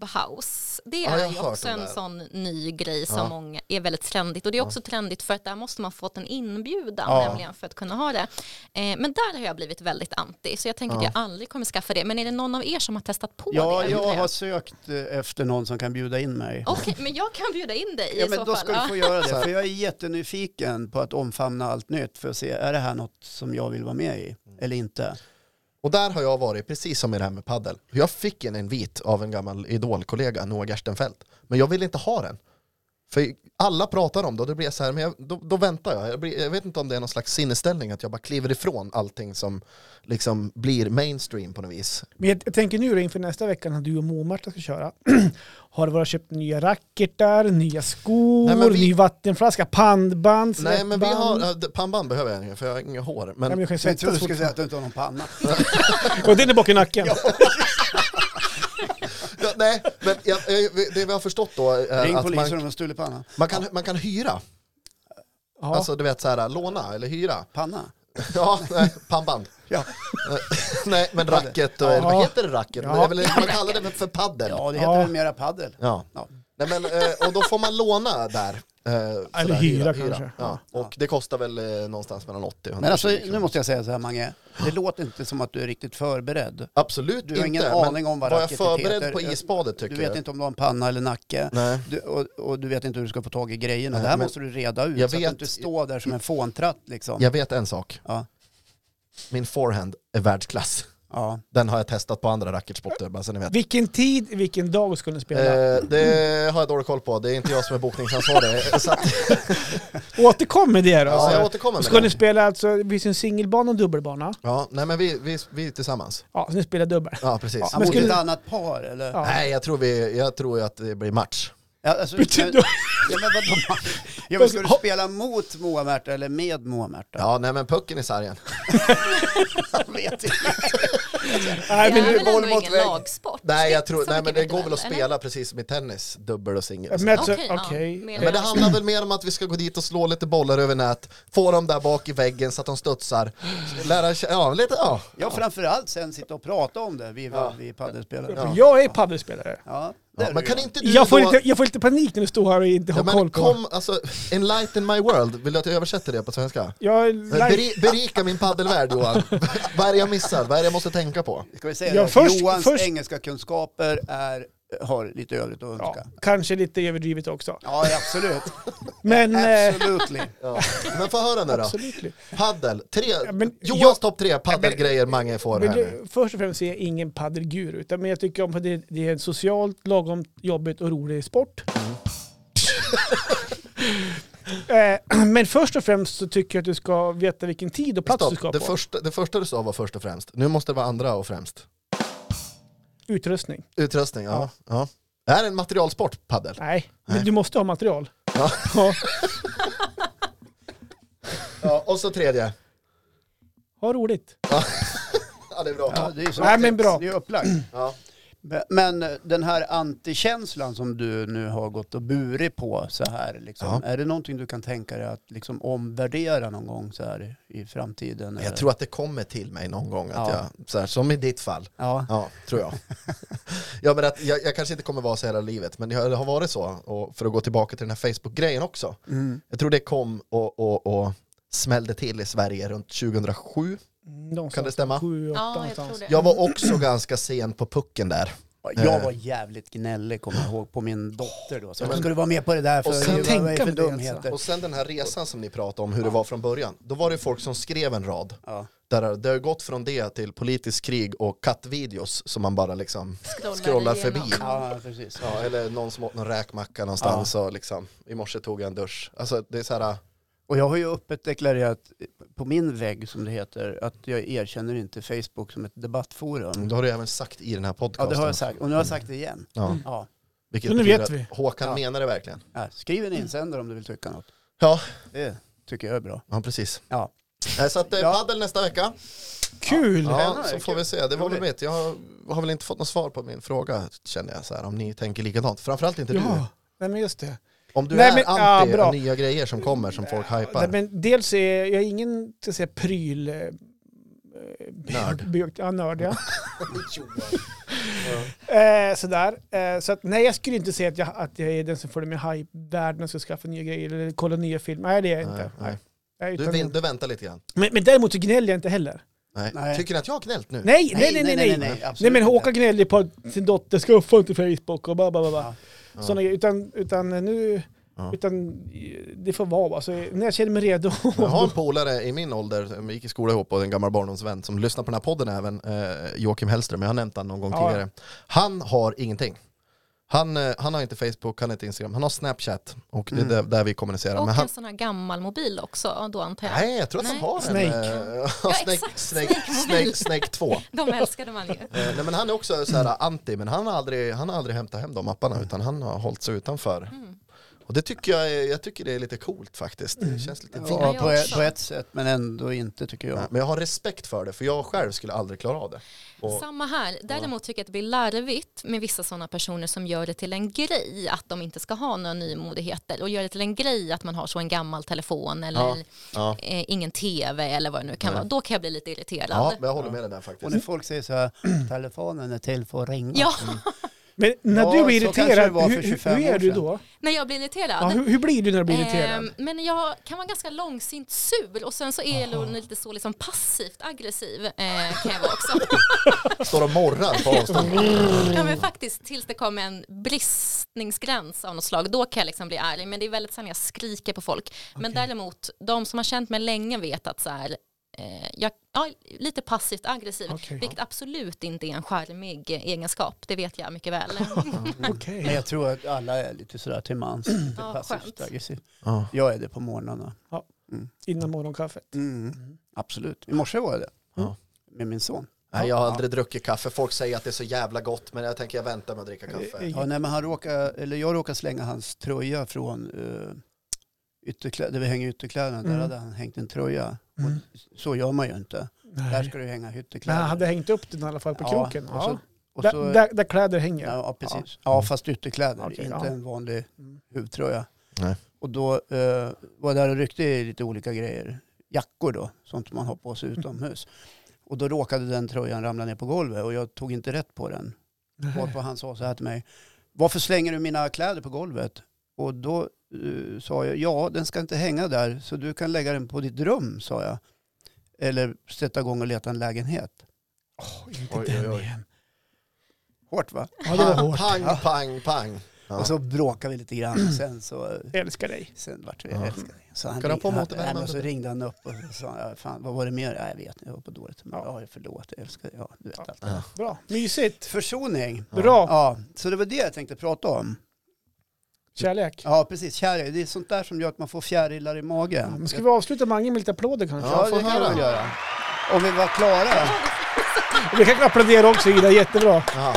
Speaker 4: Clubhouse, det
Speaker 1: Ja, jag
Speaker 4: är
Speaker 1: har
Speaker 4: ju
Speaker 1: hört
Speaker 4: också
Speaker 1: om
Speaker 4: en
Speaker 1: det här.
Speaker 4: sån ny grej som
Speaker 1: Ja.
Speaker 4: många är väldigt trendigt. Och det är också trendigt för att där måste man fått en inbjudan
Speaker 2: Ja.
Speaker 4: nämligen för att kunna ha det. Eh, men där har jag blivit väldigt anti, så jag tänker att jag aldrig kommer skaffa det. Men är det någon av er som har testat på
Speaker 2: Ja,
Speaker 4: det?
Speaker 2: jag
Speaker 4: undrar
Speaker 2: har sökt eh, efter någon som kan bjuda in mig.
Speaker 1: alltså-
Speaker 4: Okej, men jag kan bjuda in dig
Speaker 2: Ja,
Speaker 4: i
Speaker 2: men
Speaker 4: så
Speaker 2: då
Speaker 4: fall.
Speaker 2: ska du
Speaker 4: Ja.
Speaker 2: få göra <laughs> det. För jag är jättenyfiken på att omfamna allt nytt för att se, är det här något som jag vill vara med i eller inte?
Speaker 1: Och där har jag varit, precis som i det här med paddel. Jag fick en invit av en gammal idolkollega, Noah Gerstenfeldt. Men jag ville inte ha den. För alla pratar om det och det blir så här, men jag, då, då väntar jag. Jag, blir, jag vet inte om det är någon slags sinnesställning att jag bara kliver ifrån allting som liksom blir mainstream på något vis.
Speaker 3: Men jag, jag tänker nu då inför nästa vecka när du och Mo-Marta ska köra. <clears throat> har du bara köpt nya racketar, nya skor,
Speaker 1: Nej, men vi-
Speaker 3: ny vattenflaska, pandband,
Speaker 1: Nej men vi har,
Speaker 3: svettband?
Speaker 1: äh, d- pannband behöver jag inte för jag har inget hår.
Speaker 3: Nej, men
Speaker 1: Men
Speaker 3: jag kan
Speaker 2: Jag trodde
Speaker 3: svettas
Speaker 2: du skulle säga att
Speaker 3: fortfarande.
Speaker 2: du inte har någon <laughs> panna.
Speaker 3: Och den är bak i nacken.
Speaker 1: Ja, nej, men jag, jag, det vi har förstått då är
Speaker 2: Ring
Speaker 1: att
Speaker 2: polisen om
Speaker 1: man,
Speaker 2: de har stulit panna.
Speaker 1: man, kan, man kan hyra.
Speaker 3: Ja.
Speaker 1: Alltså du vet så här, låna eller hyra. <laughs>
Speaker 2: Panna?
Speaker 1: Ja, nej, pannband.
Speaker 2: Ja,
Speaker 1: Eh, <laughs> Nej, men racket och,
Speaker 3: Ja.
Speaker 1: vad heter det racket?
Speaker 3: Ja.
Speaker 1: Det är väl, man kallar det väl för paddel. Ja.
Speaker 2: ja det heter
Speaker 3: Ja.
Speaker 2: väl mera paddel. Ja.
Speaker 1: Nej, men, eh, och då får man låna där. eh, sådär,
Speaker 3: hyra kanske.
Speaker 1: Ja. Och det kostar väl eh, någonstans mellan 80 och 120
Speaker 2: Men alltså, nu
Speaker 1: kronor.
Speaker 2: måste jag säga så här Mange, det låter inte som att du är riktigt förberedd.
Speaker 1: Absolut
Speaker 2: Du har
Speaker 1: inte.
Speaker 2: ingen
Speaker 1: men
Speaker 2: aning om vad
Speaker 1: var jag
Speaker 2: racket
Speaker 1: förberedd
Speaker 2: heter?
Speaker 1: på isbadet tycker
Speaker 2: Du vet
Speaker 1: jag.
Speaker 2: inte om du har en panna eller nacke.
Speaker 1: Nej.
Speaker 2: Du, och, och du vet inte hur du ska få tag i grejerna.
Speaker 1: Nej,
Speaker 2: det här
Speaker 1: men-
Speaker 2: måste du reda ut
Speaker 1: Jag
Speaker 2: så
Speaker 1: vet-
Speaker 2: att du inte står där som en fåntratt liksom.
Speaker 1: Jag vet en sak.
Speaker 2: Ja.
Speaker 1: Min forehand är världsklass.
Speaker 2: Ja.
Speaker 1: Den har jag testat på andra racketsporter, bara så ni vet.
Speaker 3: Vilken tid, vilken dag skulle ni spela?
Speaker 1: Eh, det har jag dålig koll på. Det är inte jag som
Speaker 2: <laughs>
Speaker 1: är bokningsansvarig. Så att,
Speaker 3: Återkom med det då.
Speaker 1: ja, jag
Speaker 3: alltså.
Speaker 1: återkommer
Speaker 3: Ska
Speaker 1: med
Speaker 3: ni
Speaker 1: det.
Speaker 3: spela alltså, det finns en singelbana och dubbelbana.
Speaker 1: Ja, nej men vi, vi, vi är tillsammans.
Speaker 3: Ja, så ni spelar dubbel.
Speaker 1: Ja, precis.
Speaker 3: Ja,
Speaker 2: Han
Speaker 3: Men
Speaker 2: bodde i
Speaker 3: skulle-
Speaker 2: ett annat par eller?
Speaker 3: Ja.
Speaker 1: Nej, jag tror, vi, jag tror ju att det blir match.
Speaker 2: Ja, alltså, men,
Speaker 3: Betyder-
Speaker 2: ja, men vadå? Ja, men ska du spela mot Moa Märta eller med Moa Märta?
Speaker 1: Ja, nej men pucken i sargen.
Speaker 2: Jag vet inte.
Speaker 3: Nej,
Speaker 4: det är
Speaker 3: men,
Speaker 4: väl
Speaker 1: boll
Speaker 4: ändå
Speaker 1: mot
Speaker 4: ingen
Speaker 1: vägg.
Speaker 4: lagsport?
Speaker 1: Nej, jag
Speaker 4: Inte
Speaker 1: tror,
Speaker 4: så
Speaker 1: nej men
Speaker 4: mycket
Speaker 1: det går väl att
Speaker 4: individuellt, eller?
Speaker 1: spela precis som i tennis, dubbel och singel. och sånt.
Speaker 3: men, så,
Speaker 4: Okej, ja.
Speaker 3: alltså, okej.
Speaker 4: Mer
Speaker 1: Men det handlar väl mer om att vi ska gå dit och slå lite bollar över nät, få dem där bak i väggen så att de studsar, lära sig, ja lite, ja.
Speaker 2: Ja, framförallt sen sitta och prata om det, vi, vi padelspelare. Ja.
Speaker 3: Jag är paddelspelare.
Speaker 2: det är
Speaker 1: Men
Speaker 2: du
Speaker 1: kan
Speaker 2: ju.
Speaker 1: inte du
Speaker 3: Jag får,
Speaker 1: då...
Speaker 3: lite, jag får lite panik när du står här och inte har
Speaker 1: ja, men
Speaker 3: koll på...
Speaker 1: kom, alltså, enlighten my world, vill du att jag översätter det på svenska?
Speaker 3: Jag, är live-
Speaker 1: Beri, berika min paddelvärld Johan. Vad är det jag missar? Vad är det jag måste tänka på?
Speaker 2: Ska vi säga
Speaker 3: Ja,
Speaker 2: det?
Speaker 3: först-
Speaker 2: Johans
Speaker 3: först-
Speaker 2: engelska kunskaper är, har lite övrigt att
Speaker 3: ja,
Speaker 2: önska.
Speaker 3: kanske lite överdrivet också.
Speaker 2: Ja, absolut.
Speaker 3: Men... <laughs> eh,
Speaker 2: Absolutely.
Speaker 1: Ja. Men få höra nu då.
Speaker 3: Absolut.
Speaker 1: Paddel, tre,
Speaker 3: men
Speaker 1: Johans
Speaker 3: jag-
Speaker 1: topp tre paddelgrejer Mange får
Speaker 3: Men
Speaker 1: här nu.
Speaker 3: jag, först och främst är jag ingen padelguru, utan men jag tycker om att det, det är en socialt lagom jobbigt och rolig sport.
Speaker 1: Mm.
Speaker 3: <laughs> Eh, men först och främst så tycker jag att du ska veta vilken tid och plats du ska
Speaker 1: Stopp,
Speaker 3: på.
Speaker 1: det första, det första du sa var först och främst. Nu måste det vara andra och främst.
Speaker 3: Utrustning.
Speaker 1: Utrustning, ja. ja. Det här är en materialsport, paddel.
Speaker 3: Nej,
Speaker 1: Nej.
Speaker 3: men du måste ha material.
Speaker 1: Ja.
Speaker 3: Ja.
Speaker 1: Ja, och så tredje.
Speaker 3: Ha roligt.
Speaker 1: Ja, det är bra.
Speaker 2: Ja, det är så
Speaker 3: Nej, men bra.
Speaker 2: Det är upplagt.
Speaker 1: Ja.
Speaker 2: Men eh, den här antikänslan som du nu har gått och burit på så här, liksom, är det någonting du kan tänka dig att liksom omvärdera någon gång så här i framtiden? eller?
Speaker 1: Jag tror att det kommer till mig någon gång, att
Speaker 2: Ja.
Speaker 1: jag, så här, som i ditt fall.
Speaker 2: Ja.
Speaker 1: Ja, tror jag. ja, men att jag, jag kanske inte kommer vara så hela livet, men det har, det har varit så. Och för att gå tillbaka till den här Facebook-grejen också.
Speaker 2: Mm.
Speaker 1: Jag tror det kom och, och, och smällde till i Sverige runt 2007.
Speaker 3: Någonstans
Speaker 1: Kan det stämma?
Speaker 3: Sju, åtta
Speaker 4: Ja, jag tror
Speaker 3: någonstans.
Speaker 4: det.
Speaker 1: Jag var också ganska sen på pucken där.
Speaker 2: Jag var jävligt gnällig kommer jag ihåg på min dotter då. Så,
Speaker 1: Eh. Ja, men-
Speaker 2: ska du vara med på det där för
Speaker 1: Och sen-
Speaker 2: vad är det
Speaker 3: tänka
Speaker 2: för
Speaker 3: mig det,
Speaker 2: dumheter?
Speaker 1: alltså. Och sen den här resan som ni pratade om, hur det var från början. Då var det folk som skrev en rad.
Speaker 2: Ja.
Speaker 1: Där det har gått från det till politisk krig och kattvideos som man bara liksom
Speaker 4: Scrollar
Speaker 1: scrollar
Speaker 4: igenom.
Speaker 1: förbi.
Speaker 2: ja, precis.
Speaker 1: Ja, eller någon som åt någon räkmacka någonstans och liksom, i morse tog jag en dusch. Alltså det är så här,
Speaker 2: Och jag har ju öppet deklarerat eh, på min vägg som det heter att jag erkänner inte Facebook som ett debattforum.
Speaker 1: då mm, har du även sagt i den här
Speaker 2: Ja,
Speaker 1: podcasten.
Speaker 2: det har jag sagt. Mm. Och nu har jag sagt det igen.
Speaker 1: Ja,
Speaker 2: Ja.
Speaker 1: vilket
Speaker 3: Så nu
Speaker 1: betyder
Speaker 3: vet
Speaker 1: att
Speaker 3: vi.
Speaker 1: Håkan
Speaker 2: Ja.
Speaker 1: menar det verkligen.
Speaker 2: Ja, skriv en insändare om du vill tycka något.
Speaker 1: Ja,
Speaker 2: Det tycker jag är bra.
Speaker 1: ja precis.
Speaker 2: Ja.
Speaker 1: Nej, Så att eh,
Speaker 2: Ja.
Speaker 1: paddel nästa vecka.
Speaker 3: Kul!
Speaker 1: Ja,
Speaker 2: Spännande,
Speaker 1: så får
Speaker 2: kul.
Speaker 1: vi se. Det var väl
Speaker 2: Roligt.
Speaker 1: mitt. Jag har, har väl inte fått något svar på min fråga känner jag så här, om ni tänker likadant. Framförallt inte du.
Speaker 3: Ja, nej men just det.
Speaker 1: Om du
Speaker 3: Nej,
Speaker 1: är
Speaker 3: men- ja,
Speaker 1: anti
Speaker 3: bra.
Speaker 1: nya grejer som kommer som folk
Speaker 3: Nej,
Speaker 1: hypar.
Speaker 3: men dels är jag ingen ska säga, pryl... eh,
Speaker 1: Nörd.
Speaker 3: by- Ja, nörd ja. eh, sådär. Eh, så att, nej, jag skulle inte säga att jag, att jag är den som följer med hype-världen och ska skaffa nya grejer eller kolla nya filmer. Nej, det är jag inte.
Speaker 1: Nej, nej.
Speaker 3: Nej,
Speaker 1: Du,
Speaker 3: utan-
Speaker 1: vin- du väntar lite grann.
Speaker 3: men, men däremot så gnäller jag inte heller.
Speaker 1: Nej.
Speaker 2: Nej.
Speaker 1: Tycker ni att jag har gnällt nu?
Speaker 3: Nej, nej, nej, nej. nej, nej,
Speaker 2: absolut
Speaker 3: men
Speaker 2: inte.
Speaker 3: Håkan gnällde på att sin dotter skuffa inte Facebook och bla bla bla. bla.
Speaker 1: Ja.
Speaker 3: Sådana grejer. Utan, utan nu...
Speaker 1: Ja.
Speaker 3: Utan eh, det får vara. Alltså, när jag känner mig redo.
Speaker 1: Jag har en polare i min ålder, som gick i skola ihop och en gammal barndomsvän som lyssnar på den här podden även, eh, Joakim Hellström, jag har nämnt han någon gång
Speaker 3: Ja.
Speaker 1: tidigare. Han har ingenting. Han, eh, han har inte Facebook, han har inte Instagram, han har Snapchat och
Speaker 3: Mm.
Speaker 1: det är där, där vi kommunicerar.
Speaker 4: Och
Speaker 1: Men han,
Speaker 4: en sån här gammal mobil också då antar jag.
Speaker 1: nej, jag tror att han
Speaker 4: Nej.
Speaker 1: har
Speaker 3: Snake.
Speaker 1: en... eh, <laughs> Snake,
Speaker 4: exakt,
Speaker 1: Snake, Snake, Snake 2.
Speaker 4: De älskade man ju.
Speaker 1: Eh, nej men han är också så här anti, men han har aldrig, han har aldrig hämtat hem de apparna
Speaker 3: Mm.
Speaker 1: utan han har hållit sig utanför. Och det tycker jag, är- jag tycker det är lite coolt faktiskt.
Speaker 3: Mm.
Speaker 1: Det känns lite fint.
Speaker 2: Ja,
Speaker 4: jag
Speaker 2: på, ett,
Speaker 4: också.
Speaker 2: på ett sätt, men ändå inte tycker jag.
Speaker 1: Nej, Men jag har respekt för det, för jag själv skulle aldrig klara av det. Och,
Speaker 4: Samma här. Däremot tycker jag att det blir larvigt med vissa sådana personer som gör det till en grej att de inte ska ha några nymodigheter och gör det till en grej att man har så en gammal telefon eller
Speaker 1: Ja, ja.
Speaker 4: Eh, ingen tv eller vad det nu kan
Speaker 1: Nej.
Speaker 4: vara. Då kan jag bli lite irriterad.
Speaker 1: ja, men jag håller med dig där faktiskt.
Speaker 2: Och när folk säger så här, telefonen är till för att ringa.
Speaker 4: Ja,
Speaker 3: <laughs>
Speaker 4: <laughs>
Speaker 3: Men när
Speaker 2: Ja,
Speaker 3: du
Speaker 2: så
Speaker 3: blir
Speaker 2: kanske det
Speaker 3: irriterad,
Speaker 2: var för
Speaker 3: hur, hur
Speaker 2: 25
Speaker 3: hur är
Speaker 2: år
Speaker 3: du
Speaker 2: sedan.
Speaker 3: då?
Speaker 4: när jag blir irriterad.
Speaker 3: Ja, hur, hur blir du när du blir irriterad?
Speaker 4: Ehm, men jag kan vara ganska långsint sur och sen så är jag nog lite så liksom passivt aggressiv eh, kan jag vara också.
Speaker 1: Står och morrar på avstånd.
Speaker 4: ja, men faktiskt tills det kommer en bristningsgräns av något slag då kan jag liksom bli ärlig men det är väldigt sällan jag skriker på folk. Men däremot de som har känt mig länge vet att så här eh, jag, ja, lite passivt aggressiv,
Speaker 3: Okej.
Speaker 4: vilket absolut inte är en charmig eh, egenskap, det vet jag
Speaker 3: <laughs>
Speaker 4: mycket väl.
Speaker 3: Okej.
Speaker 2: Men jag tror att alla är lite sådär till mans, lite
Speaker 4: Ja, skönt.
Speaker 2: passivt aggressiv.
Speaker 1: Ja.
Speaker 2: Jag är det på morgnarna.
Speaker 3: Innan morgonkaffet.
Speaker 2: Mm. Absolut. I morse var jag det.
Speaker 1: Ja.
Speaker 2: Med min son.
Speaker 1: Nej, jag har aldrig druckit kaffe. Folk säger att det är så jävla gott, men jag tänker jag väntar med att dricka kaffe.
Speaker 2: Ja, nej, men han råkar, eller jag råkade slänga hans tröja från uh, ytterklä, där vi hänger ytterkläderna. Där
Speaker 3: Mm.
Speaker 2: hade han hängt en tröja.
Speaker 3: Mm.
Speaker 2: Och så gör man ju inte. Där
Speaker 3: Nej.
Speaker 2: ska du hänga
Speaker 3: Men
Speaker 2: ytterkläder.
Speaker 3: han hade hängt upp den i alla fall på
Speaker 2: Ja,
Speaker 3: kroken.
Speaker 2: och så-
Speaker 3: Ja.
Speaker 2: Och
Speaker 3: Där,
Speaker 2: så-
Speaker 3: där, där kläder hänger.
Speaker 2: Ja, precis. Ja, fast ytterkläder,
Speaker 3: Okej,
Speaker 2: inte
Speaker 3: ja.
Speaker 2: en vanlig
Speaker 3: Mm.
Speaker 2: huvtröja.
Speaker 1: Nej.
Speaker 2: Och då eh, var jag där och ryckte i lite olika grejer. Jackor då, sånt man har på sig utomhus. Och då råkade den tröjan ramla ner på golvet och jag tog inte rätt på den. Varpå han sa så här till mig. Varför slänger du mina kläder på golvet? Och då eh, sa jag, ja den ska inte hänga där så du kan lägga den på ditt rum, sa jag. Eller sätta igång och leta en lägenhet.
Speaker 3: Åh, inte
Speaker 1: Oj,
Speaker 3: den
Speaker 1: oj, oj.
Speaker 3: igen.
Speaker 2: Hårt va?
Speaker 3: Ja, det var
Speaker 1: Pang,
Speaker 3: hårt.
Speaker 1: Pang,
Speaker 2: Ja.
Speaker 1: pang, pang. Ja.
Speaker 2: Och så bråkade vi lite grann och sen så
Speaker 3: Jag älskar dig.
Speaker 2: Sen vart vi
Speaker 1: Ja.
Speaker 2: älskade. Så han,
Speaker 1: Ska du ha på
Speaker 2: ring-
Speaker 1: motorvärmen?
Speaker 2: nej, men så ringde han upp och så sa han, fan vad var det mer? Nej, jag vet inte, jag var på dåligt humör. Ja, jag förlåt, jag älskar dig. Ja, du vet
Speaker 3: Ja.
Speaker 2: allt det där.
Speaker 1: Ja.
Speaker 3: Bra. Mysigt.
Speaker 2: Försoning.
Speaker 3: Bra.
Speaker 2: Ja, så det var det jag tänkte prata om.
Speaker 3: Kärlek.
Speaker 2: Ja, precis. Kärlek, det är sånt där som gör att man får fjärilar i magen.
Speaker 3: Men ska vi avsluta Mange med lite applåder kanske?
Speaker 1: Ja,
Speaker 2: Ja,
Speaker 1: får
Speaker 2: det kan
Speaker 1: höra.
Speaker 2: vi väl göra. Om vi var klara.
Speaker 3: Vi kan applådera också Ida, jättebra.
Speaker 1: Ja.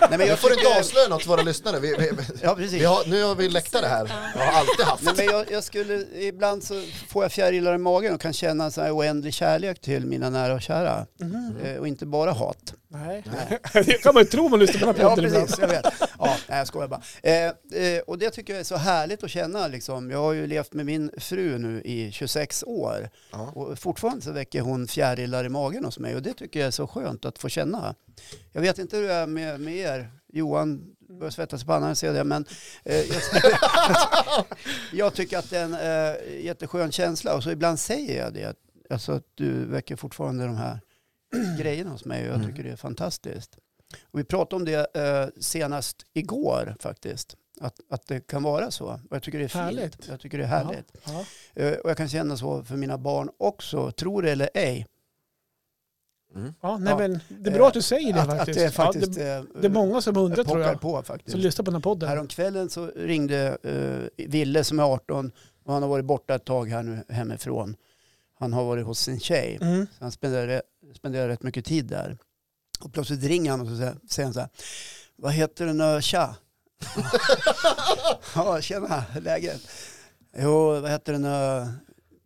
Speaker 2: Nej, men
Speaker 1: Nu
Speaker 2: jag
Speaker 1: får du
Speaker 2: tycker-
Speaker 1: gaslön åt våra lyssnare. Vi, vi,
Speaker 2: Ja, precis.
Speaker 1: vi har, nu har vi läktare här. Jag har alltid haft.
Speaker 2: Nej, men jag, jag skulle, ibland så får jag fjärilar i magen och kan känna en sån här oändlig kärlek till mina nära och kära. Eh, och inte bara hat.
Speaker 3: Nej. <laughs> Det kan man ju tro om man lyssnar på den här
Speaker 2: Ja,
Speaker 3: podden ibland.
Speaker 2: precis. Jag vet. Ja, nej, jag skojar bara. Eh, eh, och det tycker jag är så härligt att känna. Liksom. Jag har ju levt med min fru nu i 26 år.
Speaker 1: Ja.
Speaker 2: Och fortfarande så väcker hon fjärilar i magen hos mig. Och det tycker jag är så skönt att få känna. Jag vet inte hur det är med, med er. Johan börjar svettas på pannan, jag ser det. Men eh, jag, <laughs> jag tycker att det är en eh, jätteskön känsla. Och så ibland säger jag det. Alltså att du väcker fortfarande de här <clears throat> grejerna hos mig. Och
Speaker 3: Mm.
Speaker 2: jag tycker det är fantastiskt. Och vi pratade om det eh, senast igår faktiskt. Att, att det kan vara så. Och jag tycker det är fint.
Speaker 3: Härligt.
Speaker 2: Jag tycker det är härligt.
Speaker 3: Ja.
Speaker 2: Eh, och jag kan känna så för mina barn också, tro det eller ej.
Speaker 1: Mm.
Speaker 3: Ja, nej,
Speaker 2: Ja.
Speaker 3: men det är bra att du säger det
Speaker 2: att,
Speaker 3: faktiskt.
Speaker 2: att det är faktiskt
Speaker 3: ja,
Speaker 2: eh,
Speaker 3: det, det är många som undrar tror
Speaker 2: pockar
Speaker 3: jag,
Speaker 2: på
Speaker 3: som
Speaker 2: faktiskt.
Speaker 3: lyssnar på den här podden.
Speaker 2: Häromkvällen så ringde eh, Ville som är 18 och han har varit borta ett tag här nu hemifrån. Han har varit hos sin tjej.
Speaker 3: Mm.
Speaker 2: Så han spenderade, spenderade rätt mycket tid där. Och plötsligt ringer han och så sä- säger han så här, vad heter den där tja? <laughs> ja, tjena, läget? Jo, vad heter den där,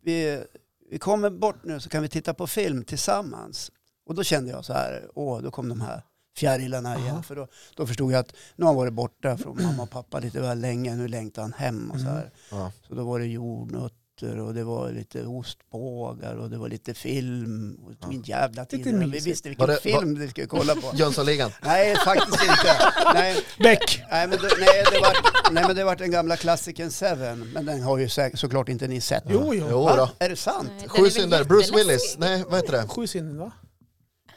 Speaker 2: vi, vi kommer bort nu så kan vi titta på film tillsammans. Och då kände jag så här, åh, då kom de här fjärilarna igen. För då, då förstod jag att nu har han varit borta från mamma och pappa lite väl länge. Nu längtar han hem och så här.
Speaker 1: Ja.
Speaker 2: Så då var det jordnötter och det var lite ostbågar och det var lite film. Och det tog en jävla tid.
Speaker 3: Lite
Speaker 2: innan Vi
Speaker 3: mysigt.
Speaker 2: visste
Speaker 1: Var
Speaker 2: vilken
Speaker 1: det-
Speaker 2: film vi skulle kolla
Speaker 1: <laughs>
Speaker 2: på.
Speaker 1: Jönssonligan.
Speaker 2: Nej, faktiskt inte. Nej,
Speaker 3: Beck!
Speaker 2: Nej men, det, nej, det var, nej men det var den gamla klassikern Seven. Men den har ju säk- såklart inte ni sett.
Speaker 3: Jo, jo.
Speaker 1: Jo
Speaker 2: Va?
Speaker 1: då.
Speaker 2: Är det sant?
Speaker 4: Nej, Eh, den är
Speaker 1: Sju
Speaker 4: väl
Speaker 1: synder. Bruce
Speaker 4: jätteläskig.
Speaker 1: Willis. Nej, vad heter det?
Speaker 3: Sju sinnen va?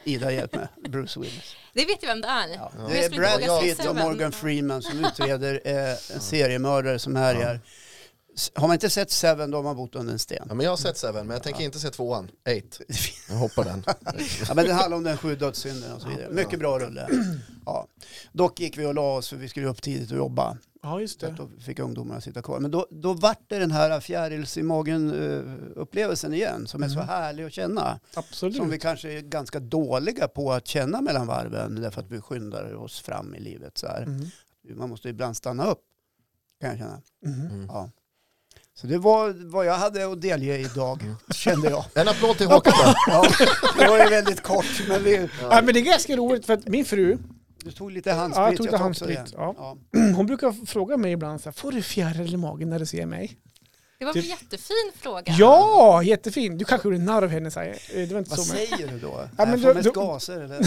Speaker 2: Ida hjälp mig. Bruce Willis.
Speaker 4: Det vet ju vem det är.
Speaker 2: Ja.
Speaker 4: Men
Speaker 2: Det är
Speaker 4: jag skulle inte
Speaker 2: Brad
Speaker 4: våga säga
Speaker 2: Pitt och
Speaker 4: Seven.
Speaker 2: Morgan Freeman
Speaker 4: <laughs>
Speaker 2: som utreder eh, en seriemördare som härjar. S- Har man inte sett Seven då har man bott under en sten.
Speaker 1: Ja, men jag har sett Seven, men jag tänker inte se tvåan. Eight. Jag hoppar den.
Speaker 2: Ja, men det handlar om den sju dödssynderna och så vidare. Mycket bra rulle. Ja. Dock gick vi och la oss för vi skulle upp tidigt och jobba.
Speaker 3: Ja, just
Speaker 2: Så att
Speaker 3: det.
Speaker 2: då fick ungdomarna sitta kvar. Men då, då vart det den här fjärils i magen-upplevelsen igen som är
Speaker 3: Mm.
Speaker 2: så härlig att känna. Som vi
Speaker 3: Absolut.
Speaker 2: kanske är ganska dåliga på att känna mellan varven därför att vi skyndar oss fram i livet. Så här.
Speaker 3: Mm.
Speaker 2: Man måste ibland stanna upp, kan jag känna.
Speaker 3: Mm.
Speaker 1: Mm.
Speaker 2: Ja. Så det var vad jag hade att delge idag, kände
Speaker 3: <laughs>
Speaker 2: jag.
Speaker 1: En applåd till Håkan.
Speaker 2: <laughs> Ja, det var ju väldigt kort, men vi,
Speaker 3: Ja, men det är ganska roligt för att min fru,
Speaker 2: du tog lite
Speaker 3: Ja,
Speaker 2: handsprit.
Speaker 3: jag tog lite
Speaker 2: också det.
Speaker 3: handsprit, ja.
Speaker 2: Ja.
Speaker 3: <clears throat> hon brukar fråga mig ibland så här, får du fjäril i magen när du ser mig?
Speaker 4: Det var en jättefin fråga.
Speaker 3: Typ- Ja, jättefin! Du kanske gjorde narr av henne, så här. Eh, det var inte
Speaker 2: Vad
Speaker 3: så men...
Speaker 2: säger du då?
Speaker 3: Ja,
Speaker 2: Ja, men
Speaker 3: men
Speaker 2: jag får
Speaker 3: du-
Speaker 2: mest
Speaker 3: du-
Speaker 2: gaser eller?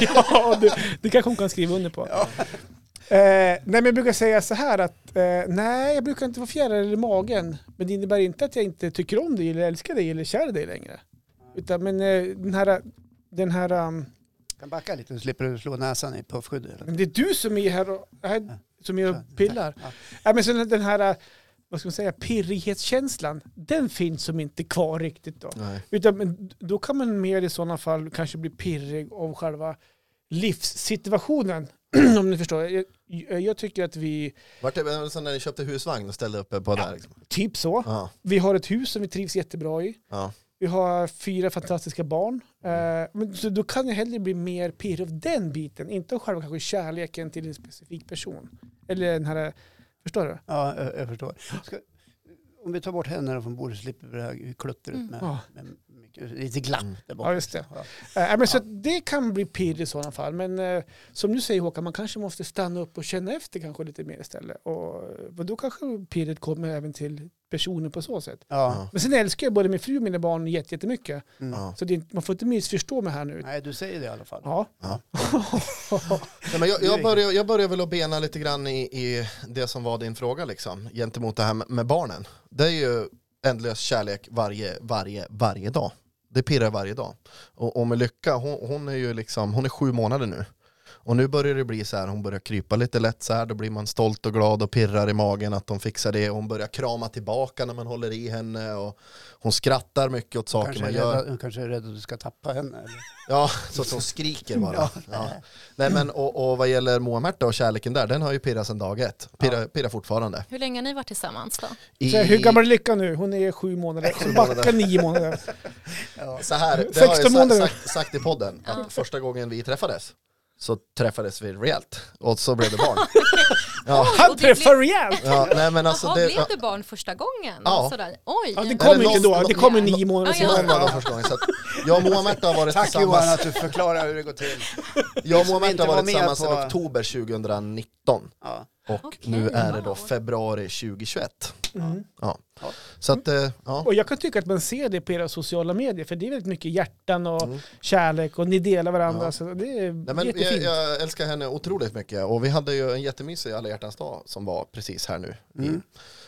Speaker 3: <laughs> Ja, det, det kanske hon kan skriva under på. Eh, nej, men jag brukar säga så här att eh, nej, jag brukar inte få fjärilar i magen. Men det innebär inte att jag inte tycker om dig eller älskar dig eller är kär i dig längre. Utan men eh, den här, den här um,
Speaker 2: kan backa lite så slipper du slå näsan i puffskyddet. eller?
Speaker 3: men det är du som är här och, här, som är och pillar.
Speaker 2: Ja.
Speaker 3: Nej, men sen den här, eh, vad ska man säga, pirrighetskänslan, den finns som inte kvar riktigt då.
Speaker 1: Nej.
Speaker 3: Utan men då kan man mer i sådana fall kanske bli pirrig av själva livssituationen. <clears throat> Om ni förstår. Jag, jag- jag tycker att vi,
Speaker 1: Vart det var det så när ni köpte husvagn och ställde upp er på där? Liksom.
Speaker 3: typ så,
Speaker 1: Ja.
Speaker 3: vi har ett hus som vi trivs jättebra i.
Speaker 1: Ja.
Speaker 3: Vi har fyra fantastiska barn. Eh, men, så då kan jag hellre bli mer pirrig av den biten, inte av själva kanske kärleken till en specifik person. Eller den här, förstår du?
Speaker 2: Ja, jag, jag förstår. Ska, om vi tar bort händerna från bordet så slipper vi det här kluttret
Speaker 4: Mm.
Speaker 2: med,
Speaker 3: Ja.
Speaker 2: med mycket, lite glapp där borta.
Speaker 3: Ja, just det. Eh, men Så att det kan bli pirr i sådana fall. Men eh, som du säger Håkan, man kanske måste stanna upp och känna efter kanske lite mer istället. Och, och då kanske pirret kommer även till personen på så sätt.
Speaker 2: Ja.
Speaker 3: Men sen älskar jag både min fru och mina barn jätte- jättemycket.
Speaker 2: Mm.
Speaker 1: Ja.
Speaker 3: Så det, är inte- man får inte missförstå mig här nu.
Speaker 2: Nej, du säger det i alla fall.
Speaker 3: Ja.
Speaker 1: Nej, men jag,
Speaker 2: Det är
Speaker 1: jag, börjar, jag börjar väl att bena lite grann i, i det som var din fråga liksom, gentemot det här med, med barnen. Det är ju ändlös kärlek varje, varje, varje dag. Det pirrar varje dag. Och, och med Lycka, hon, hon är ju liksom, hon är sju månader nu. Och nu börjar det bli så här, hon börjar krypa lite lätt så här, då blir man stolt och glad och pirrar i magen att de fixar det. Och hon börjar krama tillbaka när man håller i henne och hon skrattar mycket åt saker
Speaker 2: Kanske är,
Speaker 1: man gör.
Speaker 2: rädd, kanske är rädd att du ska tappa henne. Eller?
Speaker 1: Ja, så att hon skriker bara. Ja. Nej men och, och vad gäller Moa-Märta och kärleken där, den har ju pirrat sedan dag ett. Pirrar pirrar fortfarande.
Speaker 4: Hur länge har ni varit tillsammans då?
Speaker 1: I,
Speaker 3: Så här, hur gammal är Lycka nu? Hon är sju månader. Så backa nio månader.
Speaker 1: Så här, det har jag
Speaker 3: 16
Speaker 1: sa-
Speaker 3: månader.
Speaker 1: sagt, sagt i podden, att första gången vi träffades så träffades vi rejält och så blev
Speaker 2: <laughs>
Speaker 1: det barn. ja.
Speaker 3: Han
Speaker 4: Och det
Speaker 3: träffar rejält!
Speaker 1: Ja, nej, men alltså
Speaker 4: Jaha,
Speaker 1: det,
Speaker 4: blev det barn första gången?
Speaker 1: Ja.
Speaker 4: Sådär. Oj!
Speaker 3: Ja, det
Speaker 1: Nej, men
Speaker 3: kom inte
Speaker 1: någon-
Speaker 3: då. Det kommer nio månader
Speaker 4: Ja, ja.
Speaker 1: någon
Speaker 3: senare.
Speaker 1: var det första gången. Så att jag och Moa-Märta har varit
Speaker 2: Tack Johan
Speaker 1: tillsammans,
Speaker 2: att du förklarar hur det går till.
Speaker 1: jag och Moa
Speaker 2: som inte
Speaker 1: Märta har
Speaker 2: var
Speaker 1: varit
Speaker 2: med
Speaker 1: tillsammans
Speaker 2: på-
Speaker 1: sedan oktober 2019
Speaker 2: Ja.
Speaker 1: och
Speaker 4: Okej,
Speaker 1: nu är det då
Speaker 4: wow.
Speaker 1: februari 2021.
Speaker 3: Mm.
Speaker 1: Ja.
Speaker 2: Ja.
Speaker 1: Så att, eh, ja.
Speaker 3: Och jag kan tycka att man ser det på era sociala medier, för det är väldigt mycket hjärtan och kärlek och ni delar varandra.
Speaker 1: Mm. Ja.
Speaker 3: Så det är
Speaker 1: Nej, men jag,
Speaker 3: jättefint.
Speaker 1: jag älskar henne otroligt mycket och vi hade ju en jättemysig alla hjärtans dag som var precis här nu
Speaker 2: Mm.
Speaker 1: i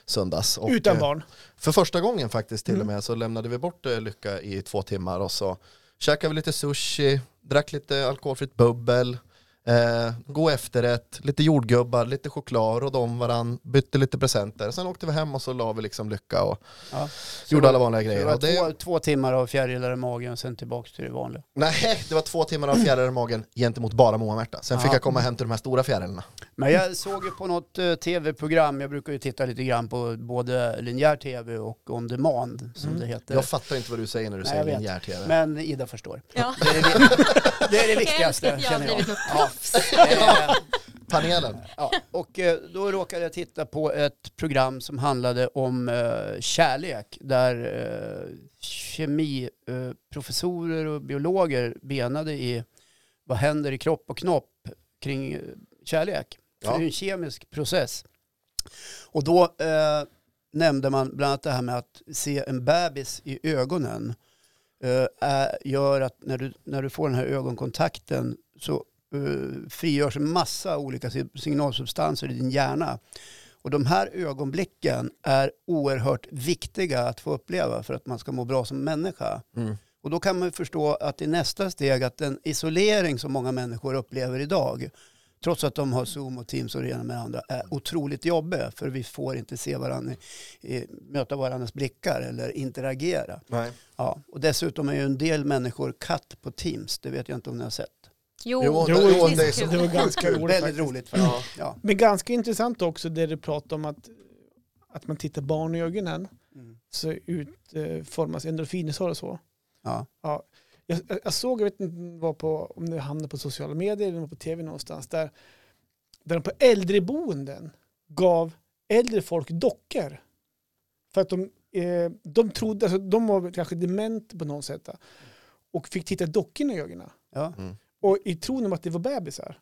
Speaker 1: söndags. Och,
Speaker 3: Utan
Speaker 1: eh,
Speaker 3: barn.
Speaker 1: För första gången faktiskt till
Speaker 2: Mm.
Speaker 1: och med så lämnade vi bort eh, Lycka i två timmar och så käkade vi lite sushi, drack lite alkoholfritt bubbel, eh, god efterrätt, lite jordgubbar, lite choklad, rådde om varann, bytte lite presenter. Sen åkte vi hem och så la vi liksom Lycka och
Speaker 2: Ja.
Speaker 1: gjorde alla vanliga
Speaker 2: Det
Speaker 1: grejer.
Speaker 2: var
Speaker 1: Och det,
Speaker 2: två, två timmar av fjärilar i magen och sen tillbaka till det vanliga.
Speaker 1: nej, det var två timmar av fjärilar i magen gentemot bara Moa Märta. Sen fick
Speaker 2: Ja.
Speaker 1: jag komma hem till de här stora fjärilarna.
Speaker 2: Men jag såg ju på något eh, tv-program, jag brukar ju titta lite grann på både linjär tv och on demand som det heter.
Speaker 1: Jag fattar inte vad du säger när du
Speaker 2: Nej,
Speaker 1: säger
Speaker 2: jag vet.
Speaker 1: linjär tv.
Speaker 2: Men Ida förstår.
Speaker 4: Ja.
Speaker 2: Det är det, <laughs> det, är det
Speaker 4: Jag älskar
Speaker 2: viktigaste
Speaker 4: att jag har
Speaker 2: känner jag.
Speaker 4: blivit något proffs.
Speaker 2: <laughs> Eh,
Speaker 1: Panelen.
Speaker 2: Ja, och eh, då råkade jag titta på ett program som handlade om eh, kärlek där eh, kemiprofessorer och biologer benade i vad händer i kropp och knopp kring eh, kärlek.
Speaker 1: Ja.
Speaker 2: För det är ju en kemisk process. Och då eh, nämnde man bland annat det här med att se en bebis i ögonen eh, är, gör att när du, när du får den här ögonkontakten så eh, frigörs en massa olika si- signalsubstanser i din hjärna. Och de här ögonblicken är oerhört viktiga att få uppleva för att man ska må bra som människa.
Speaker 1: Mm.
Speaker 2: Och då kan man ju förstå att i nästa steg att den isolering som många människor upplever idag, trots att de har Zoom och Teams och det ena med det andra, är otroligt jobbig. För vi får inte se varandra, eh, möta varandras blickar eller interagera.
Speaker 1: Nej.
Speaker 2: Ja. Och dessutom är ju en del människor katt på Teams, det vet jag inte om ni har sett.
Speaker 4: Jo,
Speaker 1: Jo,
Speaker 4: det
Speaker 1: jo,
Speaker 4: är
Speaker 1: det är
Speaker 4: så
Speaker 1: så-
Speaker 4: kul.
Speaker 3: Det var
Speaker 1: <laughs>
Speaker 3: ganska roligt
Speaker 2: Väldigt
Speaker 3: faktiskt.
Speaker 2: roligt faktiskt. Ja.
Speaker 3: Men ganska intressant också det du pratade om att, att man tittar barn i ögonen
Speaker 2: Mm.
Speaker 3: så utformas endorfinisar och så.
Speaker 2: Ja.
Speaker 3: Jag, jag- jag såg, jag vet inte var på, om det hamnade på sociala medier eller var på tv någonstans, där, där de på äldreboenden gav äldre folk dockor. För att de, eh, de trodde, alltså, de var kanske dement på något sätt och fick titta dockorna i ögonen.
Speaker 2: Ja.
Speaker 3: Och i tron om att det var bebisar.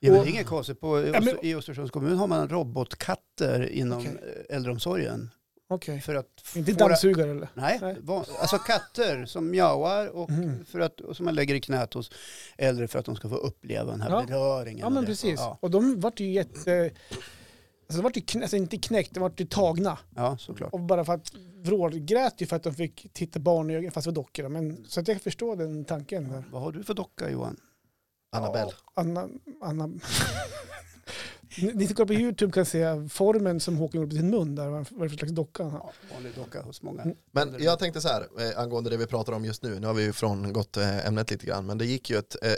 Speaker 2: Ja, men
Speaker 3: Och-
Speaker 2: det är inget konstigt. På, i
Speaker 3: Ja, men-
Speaker 2: Öster- I Östersunds kommun har man robotkatter inom
Speaker 3: Okej.
Speaker 2: eh, äldreomsorgen.
Speaker 3: Okej.
Speaker 2: För att f-
Speaker 3: Inte
Speaker 2: få det-
Speaker 3: dammsugare eller?
Speaker 2: Nej,
Speaker 3: Nej.
Speaker 2: van- alltså katter som mjauar och,
Speaker 3: Mhm.
Speaker 2: för att, och som man lägger i knät hos äldre för att de ska få uppleva den här
Speaker 3: Ja.
Speaker 2: beröringen.
Speaker 3: Ja
Speaker 2: och
Speaker 3: men
Speaker 2: det.
Speaker 3: precis.
Speaker 2: Ja,
Speaker 3: Och de vart ju jätte... Alltså de vart ju knä, alltså inte knäckt, de vart ju tagna.
Speaker 2: ja såklart.
Speaker 3: Och bara för att vrålgrät ju för att de fick titta barn i ögonen, fast det var dockor. då. Men, så att jag förstår den tanken. Där.
Speaker 2: Vad har du för docka Johan?
Speaker 1: Annabelle.
Speaker 3: Anna... Anna... <laughs> ni ni som kollar på YouTube kan se formen som Håkan gjorde på sin mun där, vad det är för slags docka han har.
Speaker 2: Ja, vanlig docka hos många.
Speaker 3: Mm.
Speaker 1: Men jag tänkte så här, eh, angående det vi pratar om just nu, nu har vi ju frångått eh, ämnet lite grann, men det gick ju ett eh,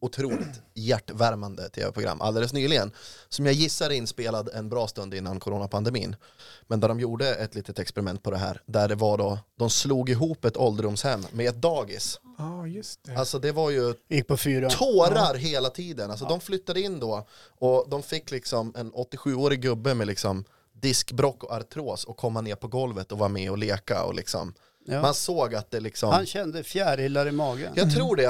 Speaker 1: otroligt hjärtvärmande tv-program alldeles nyligen, som jag gissar är inspelad en bra stund innan coronapandemin, men där de gjorde ett litet experiment på det här, där det var då, de slog ihop ett ålderdomshem med ett dagis.
Speaker 3: Ja, just det.
Speaker 1: Alltså det var ju
Speaker 2: Gick på fyra.
Speaker 1: tårar hela tiden. Alltså de flyttade in då och de fick liksom en 87-årig gubbe med liksom diskbrock och artros och komma ner på golvet och vara med och leka och liksom
Speaker 2: Ja.
Speaker 1: man såg att det liksom
Speaker 2: Han kände fjärilar i magen.
Speaker 1: jag tror det.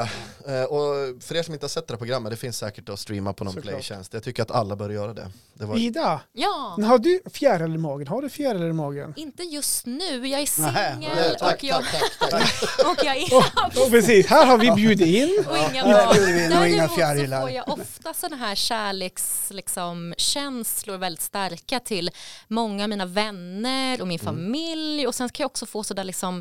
Speaker 1: Eh, Och för er som inte har sett det här programmet, det finns säkert att streama på någon
Speaker 3: Såklart.
Speaker 1: playtjänst. Jag tycker att alla bör göra det. det var...
Speaker 3: Alltså, Ida,
Speaker 4: Ja,
Speaker 3: har du fjärilar i magen? Har du fjärilar i magen?
Speaker 4: inte just nu. Jag är
Speaker 2: Nej,
Speaker 4: singel
Speaker 1: tack,
Speaker 4: och, jag,
Speaker 1: tack, tack, tack.
Speaker 4: och jag är
Speaker 1: <laughs>
Speaker 3: Oh, precis, här har vi bjudit in.
Speaker 4: och inga
Speaker 2: Ja,
Speaker 4: barn.
Speaker 2: det blir nog inga
Speaker 4: Däremot
Speaker 2: fjärilar.
Speaker 4: så får jag ofta sådana här kärlekskänslor liksom, känslor väldigt starka till många av mina vänner och min
Speaker 2: Mm.
Speaker 4: familj och sen kan jag också få sådär liksom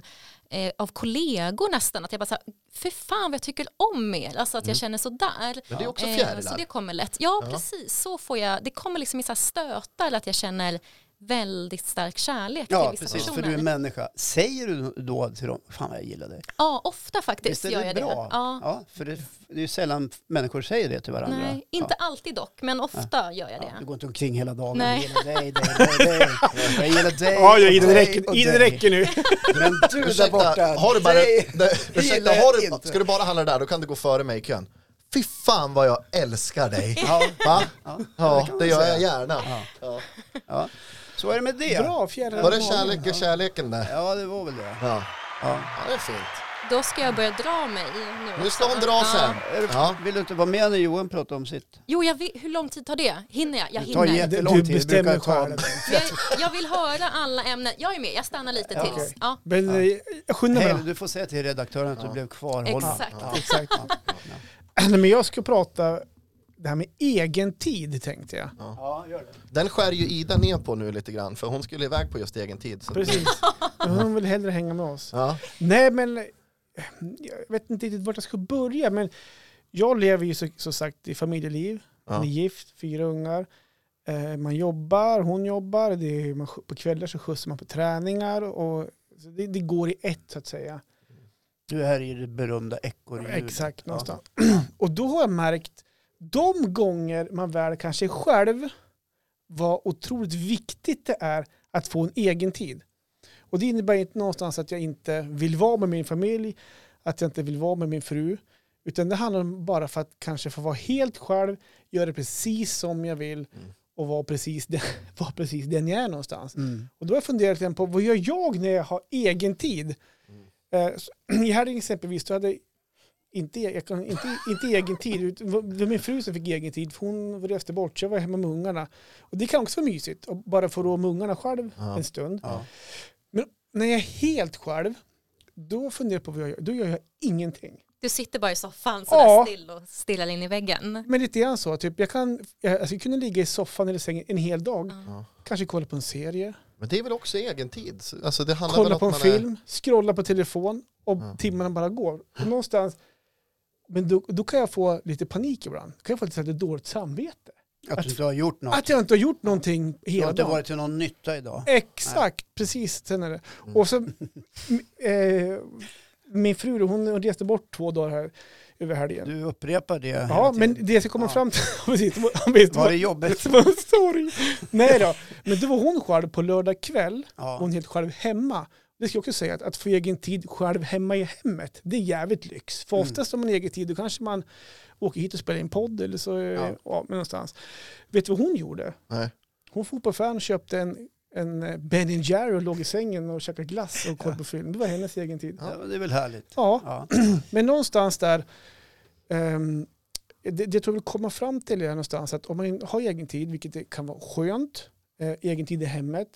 Speaker 4: eh, av kollegor nästan att jag bara så här, för fan vad jag tycker om er, alltså
Speaker 2: Mm.
Speaker 4: att jag känner sådär.
Speaker 1: Men det är också
Speaker 4: Eh,
Speaker 1: fjärilar.
Speaker 4: så det kommer lätt. Ja, precis, så får jag, det kommer liksom i så här stötar eller att jag känner väldigt stark kärlek till
Speaker 2: Ja,
Speaker 4: vissa
Speaker 2: precis. För
Speaker 4: personer.
Speaker 2: du är människa. Säger du då till dem, fan vad jag gillar dig?
Speaker 4: Ja, ofta faktiskt
Speaker 2: Visst
Speaker 4: gör
Speaker 2: är
Speaker 4: jag
Speaker 2: det
Speaker 4: det.
Speaker 2: bra?
Speaker 4: Ja.
Speaker 2: Ja, för det, det är ju sällan människor säger det till varandra.
Speaker 4: Nej, inte alltid dock, men ofta gör jag
Speaker 2: Ja,
Speaker 4: det.
Speaker 2: du går inte omkring hela dagen.
Speaker 4: Nej.
Speaker 2: Jag gillar dig, dig, dig,
Speaker 4: <laughs>
Speaker 2: dig. Jag gillar dig.
Speaker 3: Ja, ja, Ida,
Speaker 2: och
Speaker 3: det
Speaker 2: dig
Speaker 3: räcker,
Speaker 2: och
Speaker 3: Ida, det
Speaker 2: dig.
Speaker 3: räcker nu.
Speaker 2: Men du där borta.
Speaker 1: Ursäkta, har du bara,
Speaker 2: dig
Speaker 1: det, ursäkta,
Speaker 2: gillar jag
Speaker 1: har du,
Speaker 2: inte.
Speaker 1: ska du bara handla där, då kan du gå före mig i kön. Fy fan vad jag älskar dig.
Speaker 2: Ja,
Speaker 1: Va?
Speaker 2: ja, kan
Speaker 1: Ja, det
Speaker 2: man
Speaker 1: gör
Speaker 2: säga.
Speaker 1: jag gärna. Ja.
Speaker 2: ja. Så är det med det.
Speaker 3: Bra fjärilar i
Speaker 1: Var det
Speaker 3: magen.
Speaker 1: kärlek och kärleken där?
Speaker 2: Ja, det var väl det.
Speaker 1: Ja.
Speaker 2: Ja.
Speaker 1: ja, det är fint.
Speaker 4: Då ska jag börja dra mig nu.
Speaker 1: Nu ska hon dra sen.
Speaker 2: Är du-
Speaker 1: Ja.
Speaker 2: Vill du inte vara med när Johan pratar om sitt?
Speaker 4: Jo, jag vill, hur lång tid tar det? Hinner jag? Jag
Speaker 2: Det tar
Speaker 4: hinner.
Speaker 2: jättelång
Speaker 3: Du
Speaker 2: tid. Det
Speaker 3: bestämmer
Speaker 2: brukar ta-
Speaker 3: själv.
Speaker 4: Jag, jag vill höra alla ämnen. Jag är med, jag stannar lite
Speaker 2: Ja.
Speaker 4: tills.
Speaker 2: Okej.
Speaker 4: Ja,
Speaker 3: Men eh, jag skyndar mig.
Speaker 2: Hej, du får säga till redaktören att du blev kvarhållen.
Speaker 4: exakt.
Speaker 3: Exakt. <clears throat> Nej, men jag ska prata det här med egen tid tänkte jag.
Speaker 2: Ja, gör det.
Speaker 1: Den skär ju Ida ner på nu lite grann, för hon skulle iväg på just egen tid. Så.
Speaker 3: Precis. Men Hon vill hellre hänga med oss.
Speaker 1: Ja.
Speaker 3: Nej, men eh, jag vet inte riktigt vart jag ska börja, men jag lever ju så- som sagt i familjeliv. Man
Speaker 1: Ja.
Speaker 3: är gift, fyra ungar. Eh, Man jobbar, hon jobbar, det är, man, sk- på kvällar så skjutsar man på träningar och så det, det går i ett så att säga.
Speaker 2: Du är här i det berömda ekorrhjulet.
Speaker 3: Exakt,
Speaker 2: Ja.
Speaker 3: någonstans. <clears throat> Och då har jag märkt, de gånger man väl kanske är själv, vad otroligt viktigt det är att få en egen tid. Och det innebär inte någonstans att jag inte vill vara med min familj, att jag inte vill vara med min fru, utan det handlar om bara för att kanske få vara helt själv, göra precis som jag vill och vara precis, den, <laughs> vara precis den jag är någonstans.
Speaker 2: Mm.
Speaker 3: Och då har jag funderat lite på vad gör <clears throat>
Speaker 1: Mm.
Speaker 3: jag när jag har egen tid? Eh, så- I helgen exempelvis, då hade inte, e- jag kan, inte, inte egen tid. utan- det var Min fru som fick egen tid för hon reste bort så jag var hemma med ungarna. Och det kan också vara mysigt att bara få rå med ungarna själv
Speaker 1: Ja.
Speaker 3: en stund.
Speaker 2: Ja.
Speaker 3: Men när jag är helt själv, då funderar jag på vad jag gör. Då gör jag ingenting.
Speaker 4: Du sitter bara i soffan sådär
Speaker 3: Ja.
Speaker 4: still och stirrar in i väggen.
Speaker 3: Men lite grann så, typ, jag, kan, jag, jag skulle kunna ligga i soffan eller sängen en hel dag.
Speaker 1: Ja.
Speaker 3: Kanske kolla på en serie,
Speaker 1: Men det är väl också egen tid. Alltså, det handlar väl
Speaker 3: kolla
Speaker 1: om
Speaker 3: på en
Speaker 1: att man är-
Speaker 3: film, scrolla på telefon och
Speaker 1: Ja.
Speaker 3: timmarna bara går. Och någonstans, men då, då kan jag få lite panik ibland. Då kan jag få lite, så här lite dåligt samvete.
Speaker 2: Att du inte har gjort något.
Speaker 3: Att jag inte har gjort någonting
Speaker 2: Du har
Speaker 3: hela
Speaker 2: inte
Speaker 3: dagen.
Speaker 2: varit till någon nytta idag.
Speaker 3: Exakt, precis. Sen är det. Och så, m- eh, min fru då, hon reste bort två dagar här över helgen.
Speaker 2: Du upprepar det hela
Speaker 3: Ja,
Speaker 2: tiden.
Speaker 3: men det jag ska komma
Speaker 2: Ja.
Speaker 3: fram till, <laughs> precis, det var- visst, det
Speaker 2: Var
Speaker 3: var-
Speaker 2: det jobbigt?
Speaker 3: <laughs> Det var en sorg. Nej då, men då var hon själv på lördag kväll.
Speaker 2: Ja.
Speaker 3: Hon är helt själv hemma. Det ska jag också säga, att, att få egen tid själv hemma i hemmet, det är jävligt lyx. För
Speaker 2: Mm.
Speaker 3: oftast om man har egen tid, då kanske man åker hit och spelar in podd eller så, eh,
Speaker 2: Ja.
Speaker 3: ja. men någonstans. Vet du vad hon gjorde?
Speaker 1: Nej.
Speaker 3: Hon fotbollsfan köpte en, en eh, Ben Jerry och låg i sängen och käkade glass och kollade på film. Det var hennes egen tid.
Speaker 2: Ja, men det är väl härligt.
Speaker 3: Ja,
Speaker 2: Ja.
Speaker 3: men någonstans där, ehm, det, det tror jag vill komma fram till är någonstans att om man har egen tid, vilket det kan vara skönt, eh, egen tid i hemmet,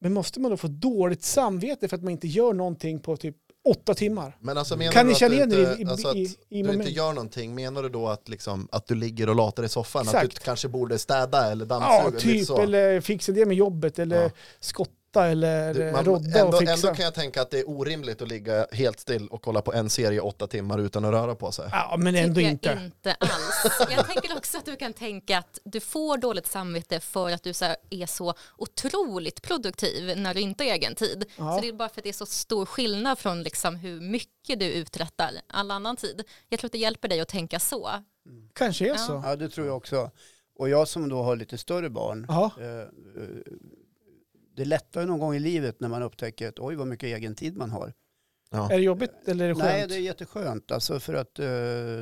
Speaker 3: men måste man då få dåligt samvete för att man inte gör någonting på typ åtta timmar?
Speaker 1: Men alltså menar
Speaker 3: kan
Speaker 1: du
Speaker 3: ni
Speaker 1: att
Speaker 3: känna
Speaker 1: du
Speaker 3: igen
Speaker 1: inte,
Speaker 3: er i, i,
Speaker 1: alltså att
Speaker 3: i, i
Speaker 1: du inte
Speaker 3: moment?
Speaker 1: gör någonting, menar du då att, liksom, att du ligger och latar i soffan? Att du
Speaker 3: Exakt.
Speaker 1: kanske borde städa eller dammsuga?
Speaker 3: Ja,
Speaker 1: lite
Speaker 3: typ,
Speaker 1: så.
Speaker 3: eller fixa det med jobbet, eller
Speaker 1: liksom. Ja.
Speaker 3: skotta, eller
Speaker 1: Du, man,
Speaker 3: eh, rodda
Speaker 1: ändå,
Speaker 3: och fixa.
Speaker 1: ändå kan jag tänka att det är orimligt att ligga helt still och kolla på en serie i åtta timmar utan att röra på sig.
Speaker 3: Ja, men ändå
Speaker 4: Tycker mm, jag
Speaker 3: inte.
Speaker 4: inte alls. Jag tänker också att du kan tänka att du får dåligt samvete för att du så här är så otroligt produktiv när du inte har egen tid.
Speaker 3: Ja.
Speaker 4: Så det är bara för att det är så stor skillnad från liksom hur mycket du uträttar all annan tid. Jag tror att det hjälper dig att tänka så.
Speaker 3: Kanske är
Speaker 4: Ja.
Speaker 3: så.
Speaker 2: ja, det tror jag också. Och jag som då har lite större barn,
Speaker 3: Ja.
Speaker 2: eh, eh, det lättar ju någon gång i livet när man upptäcker att oj vad mycket egen tid man har.
Speaker 3: Är det jobbigt eller är det skönt?
Speaker 2: Nej, det är jätteskönt alltså för att eh,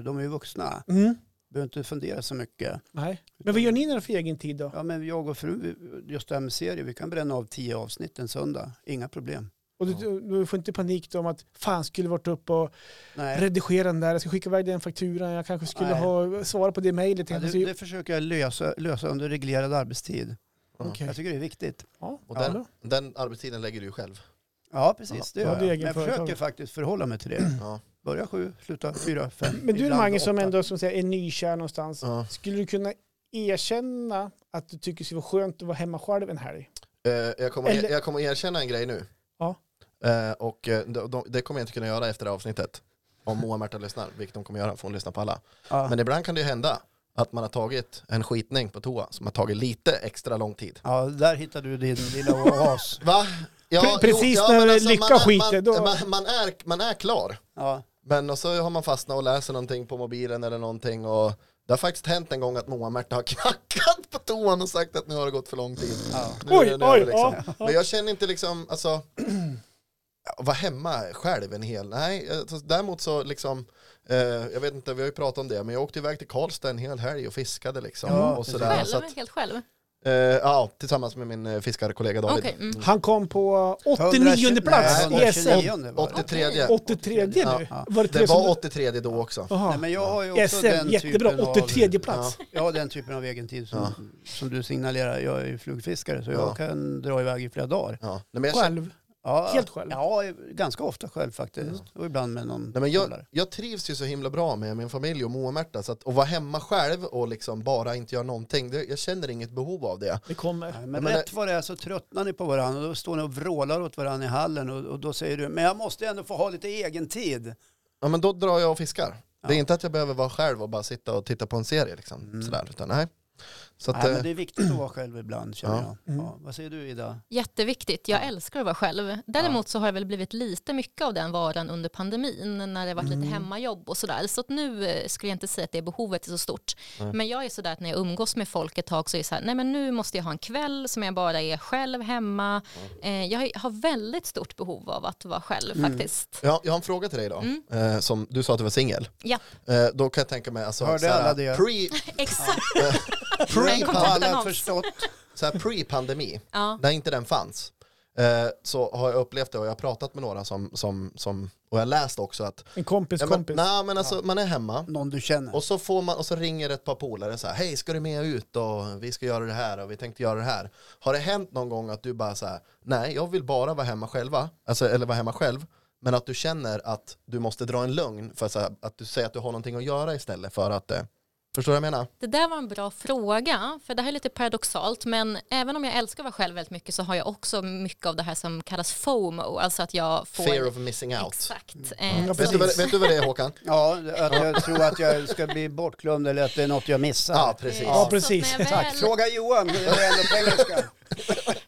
Speaker 2: de är ju vuxna.
Speaker 3: Mm.
Speaker 2: Behöver inte fundera så mycket.
Speaker 3: Nej. Men vad gör ni när det är för egen tid då?
Speaker 2: Ja, men jag och fru, vi- just det här med serier, vi kan bränna av tio avsnitt en söndag. Inga problem.
Speaker 3: Och du, du- du får inte panik då om att fan skulle varit upp och
Speaker 2: Nej,
Speaker 3: redigera den där, jag ska skicka iväg den fakturan, jag kanske skulle
Speaker 2: Nej.
Speaker 3: ha svara på det mejlet.
Speaker 2: ja,
Speaker 3: Ja,
Speaker 2: det, det försöker jag lösa, lösa under reglerad arbetstid. Jag tycker det är viktigt.
Speaker 3: ja.
Speaker 1: Och
Speaker 2: Ja.
Speaker 1: den, den arbetstiden lägger du ju själv.
Speaker 2: Ja, precis. Det
Speaker 3: Ja,
Speaker 2: gör
Speaker 3: du
Speaker 2: jag.
Speaker 3: är
Speaker 2: Men
Speaker 3: egen
Speaker 2: jag försöker
Speaker 3: företagare.
Speaker 2: faktiskt förhålla mig till det.
Speaker 1: Ja.
Speaker 2: Börja sju, sluta fyra, fem.
Speaker 3: Men du
Speaker 2: ibland
Speaker 3: Mange som
Speaker 2: åtta.
Speaker 3: ändå som säger, är nykär någonstans,
Speaker 1: Ja.
Speaker 3: skulle du kunna erkänna att du tycker det skulle vara skönt att vara hemma själv en helg?
Speaker 1: Eh, jag, kommer,
Speaker 3: Eller-
Speaker 1: jag kommer erkänna en grej nu.
Speaker 3: Ja.
Speaker 1: Eh, och eh, de, de, det kommer jag inte kunna göra efter det här avsnittet. Om Moa och Märta lyssnar, vilket de kommer göra, för hon lyssnar på alla.
Speaker 2: Ja.
Speaker 1: Men ibland kan det ju hända att man har tagit en skitning på toa som har tagit lite extra lång tid.
Speaker 2: Ja, där hittar du din lilla oas.
Speaker 1: Va? Ja,
Speaker 3: Pre- precis när
Speaker 1: men alltså,
Speaker 3: Lycka
Speaker 1: man är-
Speaker 3: skiter,
Speaker 1: man,
Speaker 3: då-
Speaker 1: man, man, är, man är klar.
Speaker 2: Ja,
Speaker 1: Men och så har man fastnat och läser någonting på mobilen eller någonting och det har faktiskt hänt en gång att Moa och Märta har <laughs> knackat på toan och sagt att nu har det gått för lång tid.
Speaker 2: ja.
Speaker 1: Nu,
Speaker 3: Oj,
Speaker 1: nu, är det
Speaker 3: oj,
Speaker 1: liksom.
Speaker 3: ja, ja.
Speaker 1: Men jag känner inte liksom, alltså, <clears throat> ja, vara hemma själv en hel, nej, alltså, däremot så liksom, eh, jag vet inte, vi har ju pratat om det, men jag åkte iväg till Karlstad en hel helg och fiskade liksom.
Speaker 2: Ja,
Speaker 1: och
Speaker 2: precis.
Speaker 1: sådär,
Speaker 4: själv,
Speaker 1: så att,
Speaker 4: helt själv.
Speaker 1: eh, ja, tillsammans med min eh, fiskarekollega David.
Speaker 4: Okej, mm.
Speaker 3: Han kom på 89 plats E
Speaker 1: Nej,
Speaker 3: i SM.
Speaker 2: 129 var det.
Speaker 1: 83,
Speaker 3: 83 nu?
Speaker 1: Ja.
Speaker 3: Var det, tre
Speaker 1: det
Speaker 3: som-
Speaker 1: var 83 då också.
Speaker 3: Jaha.
Speaker 2: Nej, men jag har ju också
Speaker 3: SM,
Speaker 2: den
Speaker 3: E jättebra.
Speaker 2: typen
Speaker 3: 83
Speaker 2: av...
Speaker 3: plats.
Speaker 2: Jag har den typen av egen tid som, som du signalerar. Jag är ju flugfiskare så jag
Speaker 1: Ja.
Speaker 2: kan dra iväg i flera dagar.
Speaker 1: Ja. Nej, men jag, känner-
Speaker 3: Själv.
Speaker 2: Ja,
Speaker 3: Helt själv?
Speaker 2: Ja, ganska ofta själv faktiskt. Och ibland med någon
Speaker 1: nej, men jag,
Speaker 2: polare.
Speaker 1: jag trivs ju så himla bra med min familj och Moa och Märta, så att att vara hemma själv och liksom bara inte göra någonting, det, jag känner inget behov av det.
Speaker 3: Det kommer.
Speaker 2: Nej, men,
Speaker 1: men
Speaker 2: rätt vad det är så tröttnar ni på varandra och då står ni och vrålar åt varandra i hallen och, och då säger du men jag måste ändå få ha lite egen tid.
Speaker 1: Ja men då drar jag och fiskar.
Speaker 2: Ja. Mm.
Speaker 1: Det är inte att jag behöver vara själv och bara sitta och titta på en serie liksom. Sådär, utan nej. Så att,
Speaker 2: Nej, men
Speaker 1: eh,
Speaker 2: det är viktigt att vara själv ibland känner
Speaker 1: Ja.
Speaker 2: jag. Ja. Vad säger du
Speaker 1: <laughs>
Speaker 2: Ida?
Speaker 4: Jätteviktigt. Jag älskar att vara själv. Däremot så har jag väl blivit lite mycket av den varan under pandemin när det varit lite
Speaker 1: Mm.
Speaker 4: hemmajobb och sådär. Så att nu eh, skulle jag inte säga att det behovet är så stort. Men jag är sådär att när jag umgås med folk ett tag så är det så här, nej men nu måste jag ha en kväll som jag bara är själv hemma. Eh, jag har väldigt stort behov av att vara själv faktiskt.
Speaker 1: Mm. ja, jag har en fråga till dig då. Eh, som, du sa att du var singel.
Speaker 4: Ja,
Speaker 1: Eh, då kan jag tänka mig, alltså,
Speaker 2: Hörde
Speaker 1: såhär,
Speaker 2: alla det?
Speaker 1: Pre,
Speaker 4: exakt.
Speaker 2: Har
Speaker 1: pre,
Speaker 4: kom-
Speaker 2: alla
Speaker 4: annons.
Speaker 2: förstått?
Speaker 1: såhär, pre-pandemi,
Speaker 4: Ja.
Speaker 1: när inte den fanns, eh, så har jag upplevt det och jag har pratat med några som, som, som och jag läste också att
Speaker 3: En kompis
Speaker 1: ja, men,
Speaker 3: kompis.
Speaker 1: nej, men alltså, man är hemma
Speaker 2: Någon du känner.
Speaker 1: och så, får man, och så ringer ett par polare så här, hej ska du med ut och vi ska göra det här och vi tänkte göra det här. Har det hänt någon gång att du bara så här, nej jag vill bara vara hemma själva, alltså, eller vara hemma själv, men att du känner att du måste dra en lögn för så här, att du säger att du har någonting att göra istället för att, eh, förstår du vad jag menar?
Speaker 4: Det där var en bra fråga, för det här är lite paradoxalt, men även om jag älskar att vara själv väldigt mycket så har jag också mycket av det här som kallas FOMO, alltså att jag får...
Speaker 1: Fear of missing out.
Speaker 4: Exakt.
Speaker 3: Mm.
Speaker 4: Eh,
Speaker 3: Ja,
Speaker 1: Vet du, vad, vet du vad det är Håkan?
Speaker 2: Ja, att jag tror att jag ska bli bortglömd eller att det är något jag missar.
Speaker 1: Ja, precis.
Speaker 3: Ja,
Speaker 4: Så att när jag
Speaker 3: precis.
Speaker 4: väl-
Speaker 2: Tack. Fråga Johan, hur är ändå på engelska?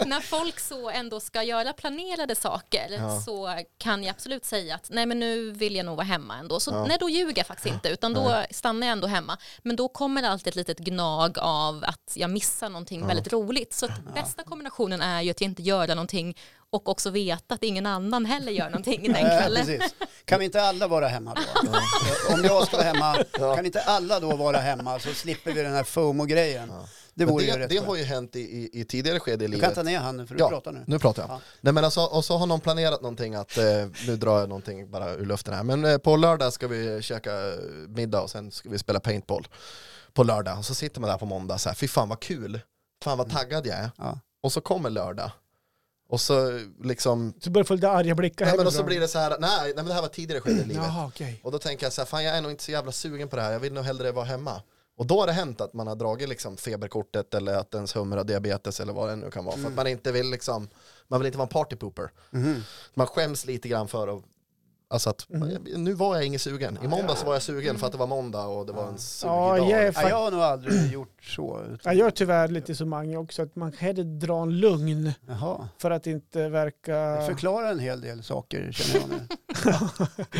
Speaker 4: när folk så ändå ska göra planerade saker
Speaker 1: Ja.
Speaker 4: så kan jag absolut säga att nej men nu vill jag nog vara hemma ändå. Så
Speaker 1: Ja.
Speaker 4: nej då ljuger jag faktiskt inte utan då stannar jag ändå hemma. Men då kommer det alltid ett litet gnag av att jag missar någonting väldigt roligt. Så att bästa kombinationen är ju att jag inte gör någonting och också veta att ingen annan heller gör någonting den
Speaker 2: Eh,
Speaker 4: kvällen.
Speaker 2: precis. Kan vi inte alla vara hemma då? Eh, Om jag ska vara hemma, kan inte alla då vara hemma så slipper vi den här FOMO-grejen. Det
Speaker 1: Men
Speaker 2: vore ju
Speaker 1: det,
Speaker 2: rätt
Speaker 1: det
Speaker 2: skönt.
Speaker 1: har ju hänt i, i, i tidigare skede i
Speaker 2: Du
Speaker 1: livet.
Speaker 2: kan ta ner handen för du pratar nu.
Speaker 1: pratar jag.
Speaker 2: Ja.
Speaker 1: Nej, men alltså, och så har någon planerat någonting att, eh, nu drar jag någonting bara ur luften här, men eh, på lördag ska vi käka eh, middag och sen ska vi spela paintball på lördag. Och så sitter man där på måndag så här, fy fan vad kul, fan vad taggad jag är.
Speaker 2: Mm. Ja.
Speaker 1: Och så kommer lördag. Och så liksom,
Speaker 3: Så börjar jag få lite arga blickar
Speaker 1: nej, men och så
Speaker 3: hemifrån.
Speaker 1: blir det så här, nej, nej men det här var tidigare skede i livet.
Speaker 3: Jaha, okej.
Speaker 1: Och då tänker jag så här, fan jag är nog inte så jävla sugen på det här, jag vill nog hellre vara hemma. Och då har det hänt att man har dragit liksom feberkortet eller att ens hummer har diabetes eller vad det nu kan vara.
Speaker 3: Mm.
Speaker 1: För att man inte vill liksom, man vill inte vara en party pooper. Man skäms lite grann för att, alltså att
Speaker 3: Mm.
Speaker 1: nu var jag ingen sugen. I måndags var jag sugen för att det var måndag och det var en sugig
Speaker 3: Ja,
Speaker 1: dag.
Speaker 3: yeah,
Speaker 1: liksom.
Speaker 2: Ja,
Speaker 3: fan.
Speaker 2: jag har nog aldrig <clears throat> gjort så.
Speaker 3: Ja,
Speaker 2: Utan...
Speaker 3: jag är tyvärr lite som Mange också, att man hellre drar en lugn
Speaker 2: Jaha.
Speaker 3: för att inte verka...
Speaker 2: Det förklarar en hel del saker känner jag nu.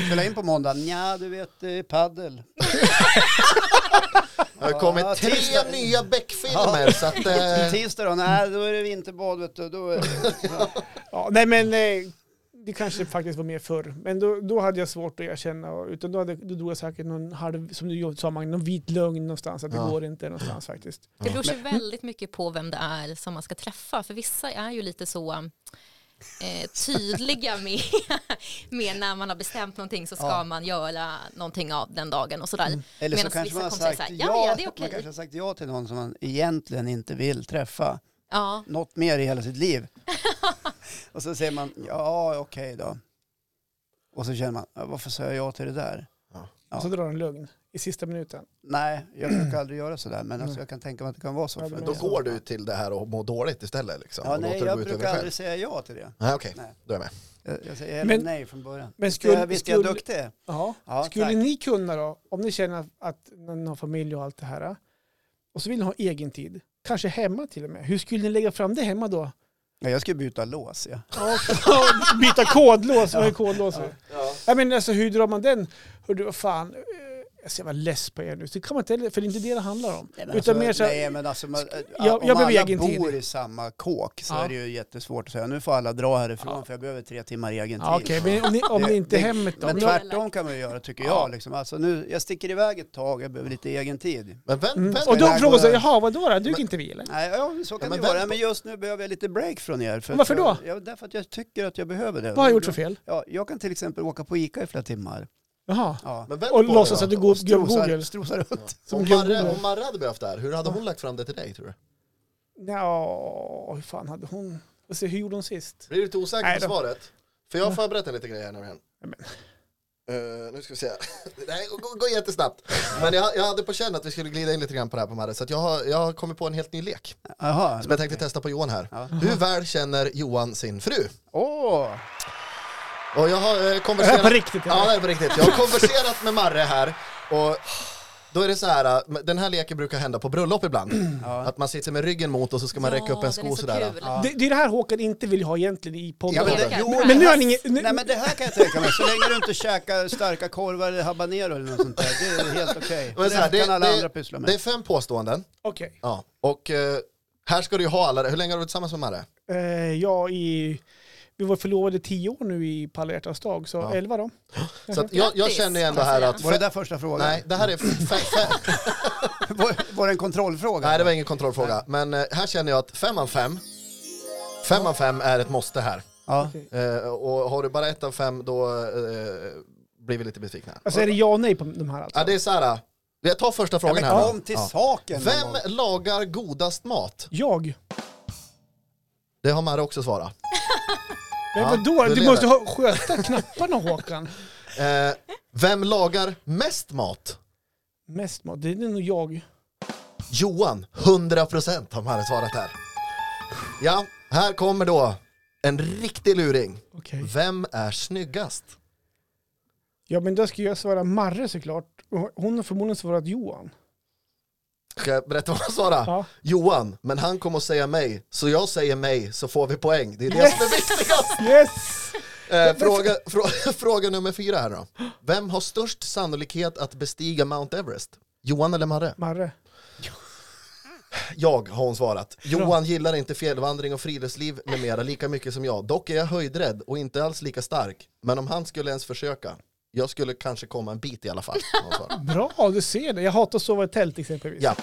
Speaker 2: Spela in på måndag, Nja, du vet det är paddel.
Speaker 1: Det har ju kommit
Speaker 2: Ja,
Speaker 1: tre
Speaker 2: tisdag.
Speaker 1: nya Beck-filmer så att...
Speaker 3: <laughs>
Speaker 1: Eh,
Speaker 2: Tisdag då, nej då är det vinterbad vet du. Då är det...
Speaker 3: Ja, nej men eh, det kanske faktiskt var mer förr. Men då, då hade jag svårt att erkänna. och- Utan då, hade, då drog jag säkert någon halv, som du sa Magnus, någon vit lögn någonstans. Att
Speaker 1: Ja.
Speaker 3: det går inte någonstans faktiskt.
Speaker 4: Det beror sig väldigt mycket på vem det är som man ska träffa. För vissa är ju lite så eh, tydliga <laughs> med, med när man har bestämt någonting så ska
Speaker 2: Ja.
Speaker 4: man göra någonting av den dagen och
Speaker 1: Mm.
Speaker 4: sådär.
Speaker 2: Eller så
Speaker 4: Medan
Speaker 2: kanske
Speaker 4: vissa
Speaker 2: man har
Speaker 4: kommer säga
Speaker 2: sagt
Speaker 4: så här,
Speaker 2: ja,
Speaker 4: ja, ja, det är
Speaker 2: man
Speaker 4: okej.
Speaker 2: kanske har sagt ja till någon som man egentligen inte vill träffa
Speaker 4: Ja.
Speaker 2: något mer i hela sitt liv. och så säger man ja, okej då. Och så känner man, "Ja, varför sa jag ja till det där? Ja.
Speaker 3: Och så drar en lögn i sista minuten.
Speaker 2: Nej, jag brukar aldrig göra sådär, men alltså, jag kan tänka mig att det kan vara så.
Speaker 3: Ja,
Speaker 2: för
Speaker 3: men
Speaker 1: då
Speaker 2: mig.
Speaker 1: går du till det här och mår dåligt istället liksom.
Speaker 2: Ja,
Speaker 1: och
Speaker 2: nej,
Speaker 1: låter det
Speaker 2: jag
Speaker 1: gå ut över
Speaker 2: brukar
Speaker 1: dig
Speaker 2: aldrig
Speaker 1: själv.
Speaker 2: säga ja till det.
Speaker 1: Nej okej,
Speaker 2: Nej.
Speaker 1: då är jag med.
Speaker 2: Jag, jag säger hellre
Speaker 3: Eh, Men-
Speaker 2: nej från början.
Speaker 3: Men
Speaker 2: Skulle,
Speaker 3: skulle,
Speaker 2: jag visst är jag
Speaker 3: skulle,
Speaker 2: duktig.
Speaker 3: ja,
Speaker 2: Ja,
Speaker 3: skulle
Speaker 2: tack.
Speaker 3: ni kunna då, om ni känner att ni har familj och allt det här. Och så vill ni ha egen tid. Kanske hemma till och med. Hur skulle ni lägga fram det hemma då?
Speaker 2: Ja, jag skulle byta lås. Ja.
Speaker 3: Byta kodlås, vad är kodlås? Nej men alltså hur drar man den? Hör du vad fan, eh, jag ser vad less på er nu. Så det kan man inte heller, för det är inte det det handlar om.
Speaker 2: Nej, men
Speaker 3: Utan
Speaker 2: alltså,
Speaker 3: mer så här,
Speaker 2: nej, men alltså, man,
Speaker 3: jag
Speaker 2: om
Speaker 3: behöver
Speaker 2: alla
Speaker 3: egen tid.
Speaker 2: bor i samma kåk så
Speaker 3: Ja.
Speaker 2: är det ju jättesvårt att säga nu får alla dra härifrån
Speaker 3: Ja.
Speaker 2: för jag behöver tre timmar egen tid.
Speaker 3: ja, okej, men om ni, om
Speaker 2: Det-
Speaker 3: ni inte är
Speaker 2: det-
Speaker 3: hemmet då?
Speaker 2: Men
Speaker 3: Men,
Speaker 2: tvärtom kan man ju göra tycker
Speaker 3: Ja.
Speaker 2: jag. Liksom. Alltså, nu, jag sticker iväg ett tag, jag behöver lite egen tid.
Speaker 1: Men vänt,
Speaker 3: mm.
Speaker 1: vänt,
Speaker 3: Och då
Speaker 2: där
Speaker 3: frågar
Speaker 2: går-
Speaker 3: sig, jaha vadå då, duger inte vi eller?
Speaker 2: Nej, ja, så kan
Speaker 1: Ja, men
Speaker 2: det vara.
Speaker 1: vem-
Speaker 2: Men just nu behöver jag lite break från er. För
Speaker 3: Men varför
Speaker 2: att jag-
Speaker 3: då?
Speaker 2: Ja, därför att jag tycker att jag behöver det.
Speaker 3: Vad har jag gjort för fel?
Speaker 2: Ja, jag kan till exempel åka på Ica i flera timmar.
Speaker 3: Jaha.
Speaker 2: Ja.
Speaker 1: men vänt på
Speaker 3: Och
Speaker 1: det
Speaker 3: låtsas
Speaker 1: då.
Speaker 3: att du går
Speaker 2: Strosar-
Speaker 3: på Google?
Speaker 2: Strosar runt.
Speaker 3: Som
Speaker 1: om,
Speaker 3: Google.
Speaker 1: Marre, om Marre hade behövt det här, hur hade hon lagt fram det till dig tror du?
Speaker 3: Ja, hur fan hade hon? Alltså, hur gjorde hon sist?
Speaker 1: Blir du lite osäker
Speaker 3: Nej
Speaker 1: på
Speaker 3: då.
Speaker 1: svaret? För jag har förberett en liten grej här nämligen.
Speaker 3: Ja, men.
Speaker 1: Eh, nu ska vi se. <laughs> Nej, gå, gå jättesnabbt. Men jag, jag hade på känn att vi skulle glida in lite grann på det här på Marre, så att jag, har, jag har kommit på en helt ny lek
Speaker 2: Jaha.
Speaker 1: som jag tänkte testa på Johan här.
Speaker 2: Ja.
Speaker 1: Hur väl känner Johan sin fru?
Speaker 2: Åh!
Speaker 1: Och jag har
Speaker 3: Det
Speaker 1: eh,
Speaker 3: här är på
Speaker 1: konverserat...
Speaker 3: riktigt?
Speaker 1: Ja,
Speaker 3: eller?
Speaker 1: det är på riktigt. Jag har konverserat med Marre här och då är det så här, eh, den här leken brukar hända på bröllop ibland.
Speaker 2: Ja.
Speaker 1: Att man sitter med ryggen mot och så ska man räcka upp
Speaker 4: Ja,
Speaker 1: en
Speaker 4: den är
Speaker 1: sko
Speaker 4: så
Speaker 1: sådär.
Speaker 4: kul.
Speaker 2: Ja.
Speaker 3: Det, det är det här Håkan inte vill ha egentligen i
Speaker 2: Ja,
Speaker 3: podden.
Speaker 2: men,
Speaker 1: Korvar.
Speaker 2: det, jo,
Speaker 3: Men nu har ni ingen- nu-
Speaker 2: Nej men det här kan jag tänka mig, så länge du inte käkar starka korvar eller habanero eller något sånt där, det är helt okej.
Speaker 1: Men så här,
Speaker 2: Det
Speaker 1: det-
Speaker 2: kan alla
Speaker 1: det-
Speaker 2: andra pyssla med.
Speaker 1: Det är fem påståenden.
Speaker 3: Okej.
Speaker 1: Ja, och eh, här ska du ju ha alla det. Hur länge har du varit tillsammans med Marre?
Speaker 3: Eh, ja, i, vi var förlovade tio år nu i Palla hjärtans dag, så
Speaker 1: Ja.
Speaker 3: elva då.
Speaker 1: Så att jag, jag
Speaker 4: Grattis,
Speaker 1: känner ju ändå
Speaker 4: kan jag
Speaker 1: här
Speaker 4: säga.
Speaker 1: att...
Speaker 2: Var det där första frågan?
Speaker 1: Nej, det här är... f- Fem, fem,
Speaker 2: <laughs> Var, var det en kontrollfråga?
Speaker 1: nej, det var ingen kontrollfråga. Men eh, här känner jag att fem av fem Fem av fem är ett måste här.
Speaker 2: Ja.
Speaker 3: Okej.
Speaker 1: Eh, och har du bara ett av fem då eh, blir vi lite besvikna.
Speaker 3: Alltså är det ja och nej på de här alltså?
Speaker 1: Ja, det är så här. eh, Jag tar första
Speaker 2: Ja,
Speaker 1: frågan
Speaker 2: men
Speaker 1: här. då.
Speaker 2: kom till saken. någon gång.
Speaker 1: Vem lagar godast mat?
Speaker 3: Jag?
Speaker 1: Det har Marre också svarat.
Speaker 3: Men
Speaker 1: Ja,
Speaker 3: vadå?
Speaker 1: du
Speaker 3: Du,
Speaker 1: lever.
Speaker 3: måste ha, sköta knapparna Håkan.
Speaker 1: Eh, vem lagar mest mat?
Speaker 3: Mest mat, det är nog jag.
Speaker 1: Johan, 100% har Marre svarat här. Ja, här kommer då en riktig luring.
Speaker 3: Okej.
Speaker 1: Vem är snyggast?
Speaker 3: Ja men då ska jag svara Marre såklart. Och Hon har förmodligen svarat Johan.
Speaker 1: Ska jag berätta vad han svarade?
Speaker 3: Ja.
Speaker 1: Johan, men han kommer att säga mig, så jag säger mig så får vi poäng. Det är det som är viktigast.
Speaker 3: Yes!
Speaker 1: Eh, fråga, frå, <laughs> fråga nummer fyra här då. Vem har störst sannolikhet att bestiga Mount Everest? Johan eller Marre?
Speaker 3: Marre.
Speaker 1: Jag har hon svarat. Johan gillar inte fjällvandring och friluftsliv med mera lika mycket som jag. Dock är jag höjdrädd och inte alls lika stark. Men om han skulle ens försöka, jag skulle kanske komma en bit i alla fall. har hon
Speaker 3: <laughs>
Speaker 1: svarat.
Speaker 3: Bra, du ser det. Jag hatar att sova i tält exempelvis.
Speaker 1: ja.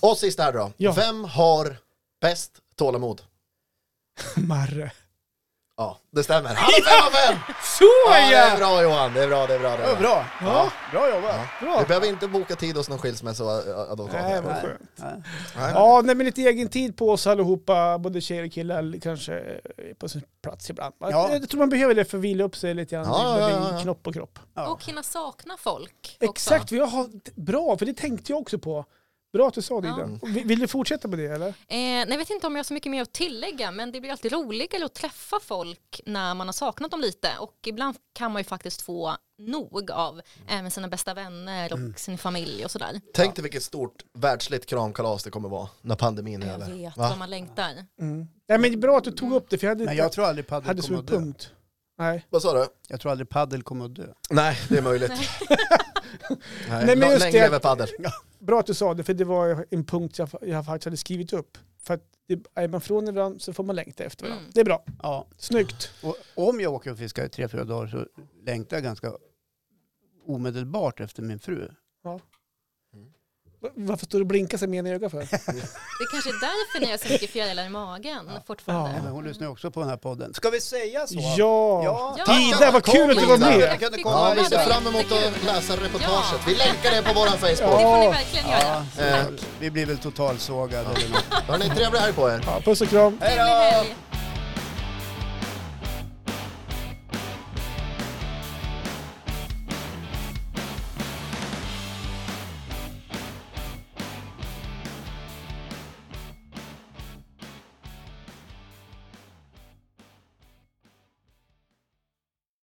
Speaker 1: Och sist här då.
Speaker 3: Ja.
Speaker 1: Vem har bäst tålamod?
Speaker 3: Marre.
Speaker 1: Ja, det stämmer. Han har fem av fem!
Speaker 3: <laughs> Så
Speaker 1: Ja, det är
Speaker 3: ja!
Speaker 1: bra Johan, det är bra, det är bra. Det
Speaker 2: Ja,
Speaker 1: är bra.
Speaker 2: bra.
Speaker 1: Ja.
Speaker 2: Bra jobbat.
Speaker 1: Du
Speaker 3: Bra.
Speaker 1: behöver inte boka tid hos någon eh, skilsmässoadvokat.
Speaker 3: Nej, vad
Speaker 1: här.
Speaker 3: skönt.
Speaker 2: Nej.
Speaker 1: Nej.
Speaker 3: Ja, nej, men lite egen tid på oss allihopa, både tjejer och killar, kanske eh, på sin plats ibland.
Speaker 2: Ja.
Speaker 3: Jag tror man behöver det för att vila upp sig lite grann,
Speaker 1: Ja, ja, ja,
Speaker 3: både
Speaker 1: ja.
Speaker 3: i knopp och kropp.
Speaker 2: Ja.
Speaker 4: Och hinna sakna folk också.
Speaker 3: Exakt, vi har, bra, för det tänkte jag också på. Bra att du sa det
Speaker 4: Ja.
Speaker 3: Ida. Vill, vill du fortsätta med det eller?
Speaker 4: Eh, nej, jag vet inte om jag har så mycket mer att tillägga men det blir alltid roligare att träffa folk när man har saknat dem lite och ibland kan man ju faktiskt få nog av
Speaker 1: Mm.
Speaker 4: även sina bästa vänner och sin familj och sådär.
Speaker 1: Tänk dig vilket stort världsligt kramkalas det kommer vara när pandemin är
Speaker 4: Jag
Speaker 1: över.
Speaker 4: vet
Speaker 1: Va?
Speaker 4: vad man längtar.
Speaker 3: Mm. Nej men det är bra att du tog upp det, för jag hade,
Speaker 2: Men jag tror aldrig
Speaker 3: hade
Speaker 2: paddel
Speaker 3: som
Speaker 2: kommer
Speaker 3: en
Speaker 2: att dö.
Speaker 3: punkt. Nej.
Speaker 1: Vad sa du?
Speaker 2: Jag tror aldrig paddel kommer att dö.
Speaker 1: Nej, det är möjligt. <laughs> Nej,
Speaker 3: Nej, men just
Speaker 1: länge
Speaker 3: det.
Speaker 1: lever padel.
Speaker 3: Bra att du sa det, för det var en punkt jag, jag faktiskt hade skrivit upp. För att det, är man från varandra så får man längta efter varandra.
Speaker 4: Mm.
Speaker 3: Det är bra.
Speaker 2: Ja.
Speaker 3: Snyggt.
Speaker 2: Och om jag åker och fiskar i tre, fyra dagar så längtar jag ganska omedelbart efter min fru.
Speaker 3: Va- Varför står du och blinkar sig med en
Speaker 2: <laughs>
Speaker 3: öga för?
Speaker 4: Det kanske är därför ni har så mycket fjärilar i magen fortfarande.
Speaker 2: Nej, men hon lyssnar ju också på den här podden. Ska vi säga så?
Speaker 3: Ja!
Speaker 2: Ja.
Speaker 4: Ja.
Speaker 3: Ida, vad kul att du var
Speaker 1: Ida.
Speaker 3: med!
Speaker 2: Jag kunde komma
Speaker 1: Ja, vi
Speaker 2: hit.
Speaker 1: ser fram emot att läsa reportaget. Vi länkar det på vår
Speaker 4: Det
Speaker 1: Facebook.
Speaker 4: får ni verkligen göra.
Speaker 2: Ja,
Speaker 1: Eh.
Speaker 2: vi blir väl totalsågade eller något.
Speaker 1: Hörni, trevlig helg på er.
Speaker 3: Ja, puss och kram!
Speaker 4: Trevlig helg.